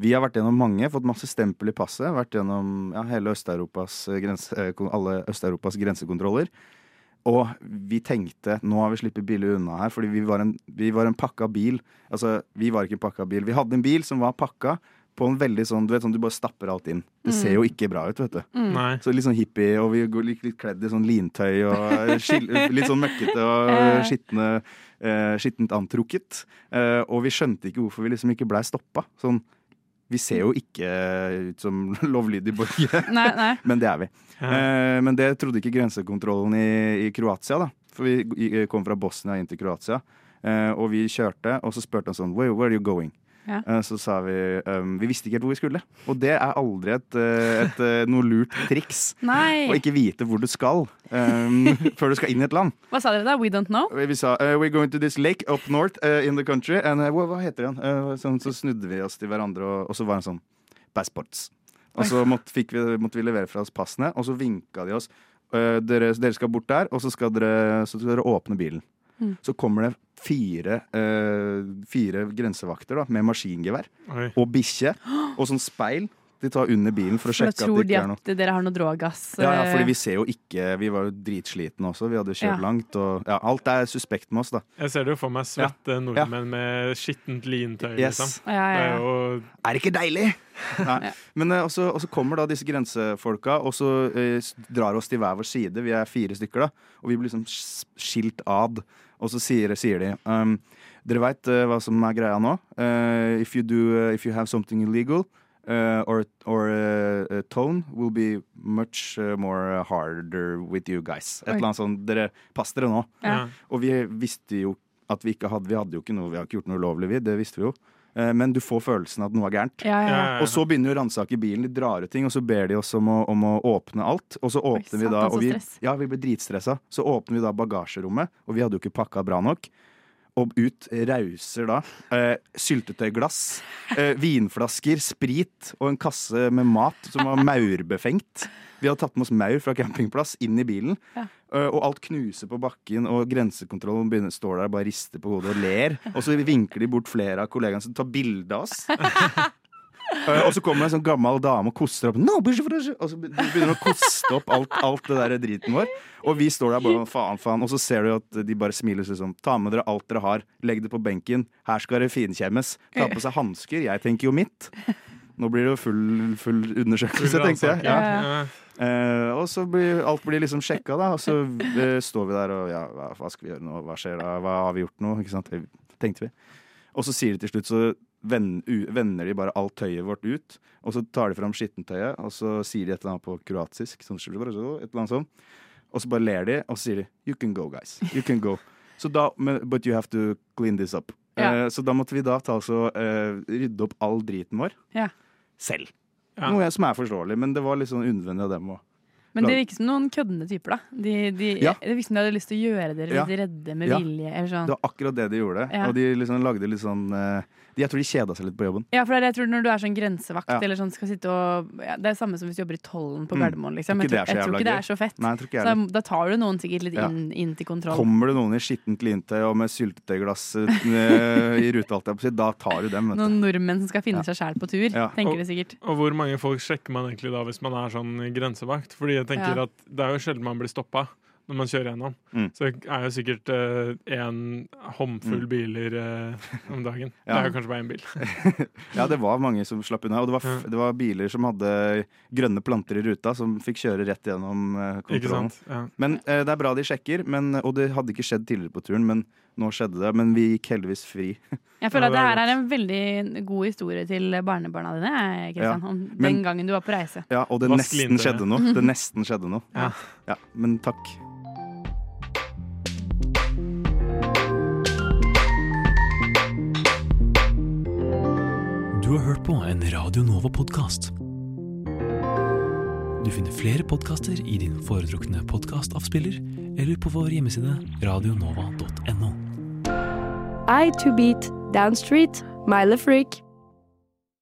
Vi har vært gjennom mange, fått masse stempel i passet. Vært gjennom ja, hele Øst-Europas grense, eh, kon- alle Øst-Europas grensekontroller. Og vi tenkte nå har vi sluppet billig unna her, fordi vi var, en, vi var en pakka bil. Altså, vi var ikke en pakka bil. Vi hadde en bil som var pakka på en veldig sånn Du vet sånn du bare stapper alt inn. Det
Mm.
ser jo ikke bra ut, vet du.
Mm. Nei.
Så litt sånn hippie, og vi går litt, litt kledd i sånn lintøy og skil, litt sånn møkkete
Eh.
og skitne, eh, skittent antrukket. Eh, og vi skjønte ikke hvorfor vi liksom ikke blei stoppa. Sånn, vi ser jo ikke ut som lovlydige borgere,
Nei, nei.
men det er vi. Eh, men det trodde ikke grensekontrollen i, i Kroatia, da. For vi g- kom fra Bosnia inn til Kroatia, eh, og vi kjørte, og så spurte han sånn Where, where are you going?
Ja.
Eh, Så sa vi ehm, Vi visste ikke helt hvor vi skulle. Og det er aldri et, eh, et, eh, noe lurt triks.
Nei.
Å ikke vite hvor du skal ehm, før du skal inn i et land.
Hva sa dere da? We don't know?
Vi sa eh, We're going to this lake up north eh, in the country. And, eh, hva, hva heter den? Eh, sånn, så snudde vi oss til hverandre, og, og så var han sånn Passports. Og så måtte, fikk vi, måtte vi levere fra oss passene, og så vinka de oss. eh, dere, dere skal bort der, og så skal dere, så skal dere åpne bilen.
Mm.
Så kommer det fire, eh, fire grensevakter da, med maskingevær
Oi.
og bikkje og sånn speil de tar under bilen for å
For da
sjekke at det
tror de
ikke er noe.
at dere har noe drogass.
Ja, ja, fordi
eh,
vi ser jo ikke Vi var jo dritsslitne også. Vi hadde kjørt
Ja.
langt. Og, ja, alt er suspekt med oss, da.
Jeg ser det jo for meg svette nordmenn med skittent lintøy,
Yes.
liksom.
Ja, ja, ja.
Det er jo
Er det ikke deilig? Nei. Men eh, også, også kommer da disse grensefolka og så eh, s- drar oss til hver vår side. Vi er fire stykker, da. Og vi blir liksom s- skilt ad. Og så sier, sier de um, Dere veit hva som er greia nå? Eh, if, you do, eh, if you have something illegal eh, or, or eh, eh, tone will be much eh, more harder with you guys. Et
Oi.
eller annet sånn Dere, pass dere nå.
Ja.
Og vi visste jo at vi ikke hadde Vi hadde jo ikke noe, vi har ikke gjort noe ulovlig, vi. Det visste vi jo. Eh, Men du får følelsen av at noe er gærent.
Ja, ja, ja.
Og så begynner de å ransake bilen, de drar ut ting, og så ber de oss om å, om å åpne alt. Og så åpner vi da
satan, så
og vi,
stress.
Ja, vi ble dritstressa. Så åpner vi da bagasjerommet, og vi hadde jo ikke pakka bra nok. Og ut rauser da eh, syltetøyglass, eh, vinflasker, sprit og en kasse med mat som var maurbefengt. Vi hadde tatt med oss maur fra campingplass inn i bilen.
Ja.
eh, Og alt knuser på bakken, og grensekontrollen begynner, står der og bare rister på hodet og ler. Og så vinker de bort flere av kollegaene som tar bilde av oss. Eh, og så kommer en sånn gammel dame og koster opp «No, bursdag for deg!» Og så begynner hun å koste opp alt, alt det der driten vår. Og vi står der bare faen, faen. Og så ser du at de bare smiler seg sånn. Ta med dere alt dere har. Legg det på benken. Her skal det finkjemmes. Ta på seg hansker. Jeg tenker jo mitt. Nå blir det jo full, full undersøkelse,
Full
tenkte jeg.
ransaking. Ja, ja.
Eh, og så blir alt blir liksom sjekka, da. Og så eh, står vi der og ja, hva, hva skal vi gjøre nå? Hva skjer da? Hva har vi gjort nå? Ikke sant? Det tenkte vi. Og så sier de til slutt, så vend- u- vender de bare alt tøyet vårt ut. Og så tar de fram skittentøyet, og så sier de et eller annet på kroatisk. Sånn, et eller annet sånn. Og så bare ler de, og så sier de 'You can go, guys. You can go'. Så da, men, But you have to clean this up.
Ja.
Eh, så da måtte vi da ta oss og eh, rydde opp all driten vår
Ja.
selv.
Ja.
Noe jeg- som er forståelig, men det var litt sånn unødvendig av dem òg.
Men det virker som noen køddende typer, da. De, de,
Ja.
Det virker som de hadde lyst til å gjøre dere
Ja.
litt redde med
Ja.
vilje. Eller sånn.
Det var akkurat det de gjorde.
Ja.
Og de liksom lagde litt sånn eh, de, Jeg tror de kjeda seg litt på jobben.
Ja, for det er det jeg tror når du er sånn grensevakt
Ja.
eller sånn skal sitte og ja, Det er det samme som hvis du jobber i tollen på
Mm.
Gardermoen, liksom.
Ikke
Jeg
det er så
tror, jeg tror
jævla
ikke det er
gøy.
så fett.
Nei, jeg tror ikke jeg
så da, da tar du noen sikkert litt
Ja.
inn, inn til kontroll.
Kommer det noen i skittent lintøy og med syltetøyglass eh, i ruta, alt jeg på å si, da tar du dem. Vet du.
Noen nordmenn som skal finne
Ja.
seg sjæl på tur,
Ja.
tenker
Og-
de sikkert.
Og hvor mange folk sjekker man egentlig da hvis man er sånn grensevakt? Fordi jeg tenker
Ja.
at det er jo sjelden man blir stoppa når man kjører gjennom.
Mm.
Så det er jo sikkert én håndfull
Mm.
biler eh, om dagen. Det
Ja.
er jo kanskje bare én bil.
Ja, det var mange som slapp unna. Og det var, f det var biler som hadde grønne planter i ruta, som fikk kjøre rett gjennom eh,
Ikke
kontrollen.
sant? Ja.
Men eh, det er bra de sjekker, men, og det hadde ikke skjedd tidligere på turen, men nå skjedde det. Men vi gikk heldigvis fri.
Jeg føler at det her er en veldig god historie til barnebarna dine, jeg, Kristian.
Ja.
Om den
Men-
gangen du var på reise.
Ja, og det
Vask
nesten
lintøyet.
skjedde noe. Det nesten skjedde noe.
Ja.
Ja, men takk.
Du har hørt på en Radio Nova-podkast. Du finner flere podkaster i din foretrukne podkastavspiller eller på vår hjemmeside radionova.no.
I to beat, Downstreet, Mile Freak,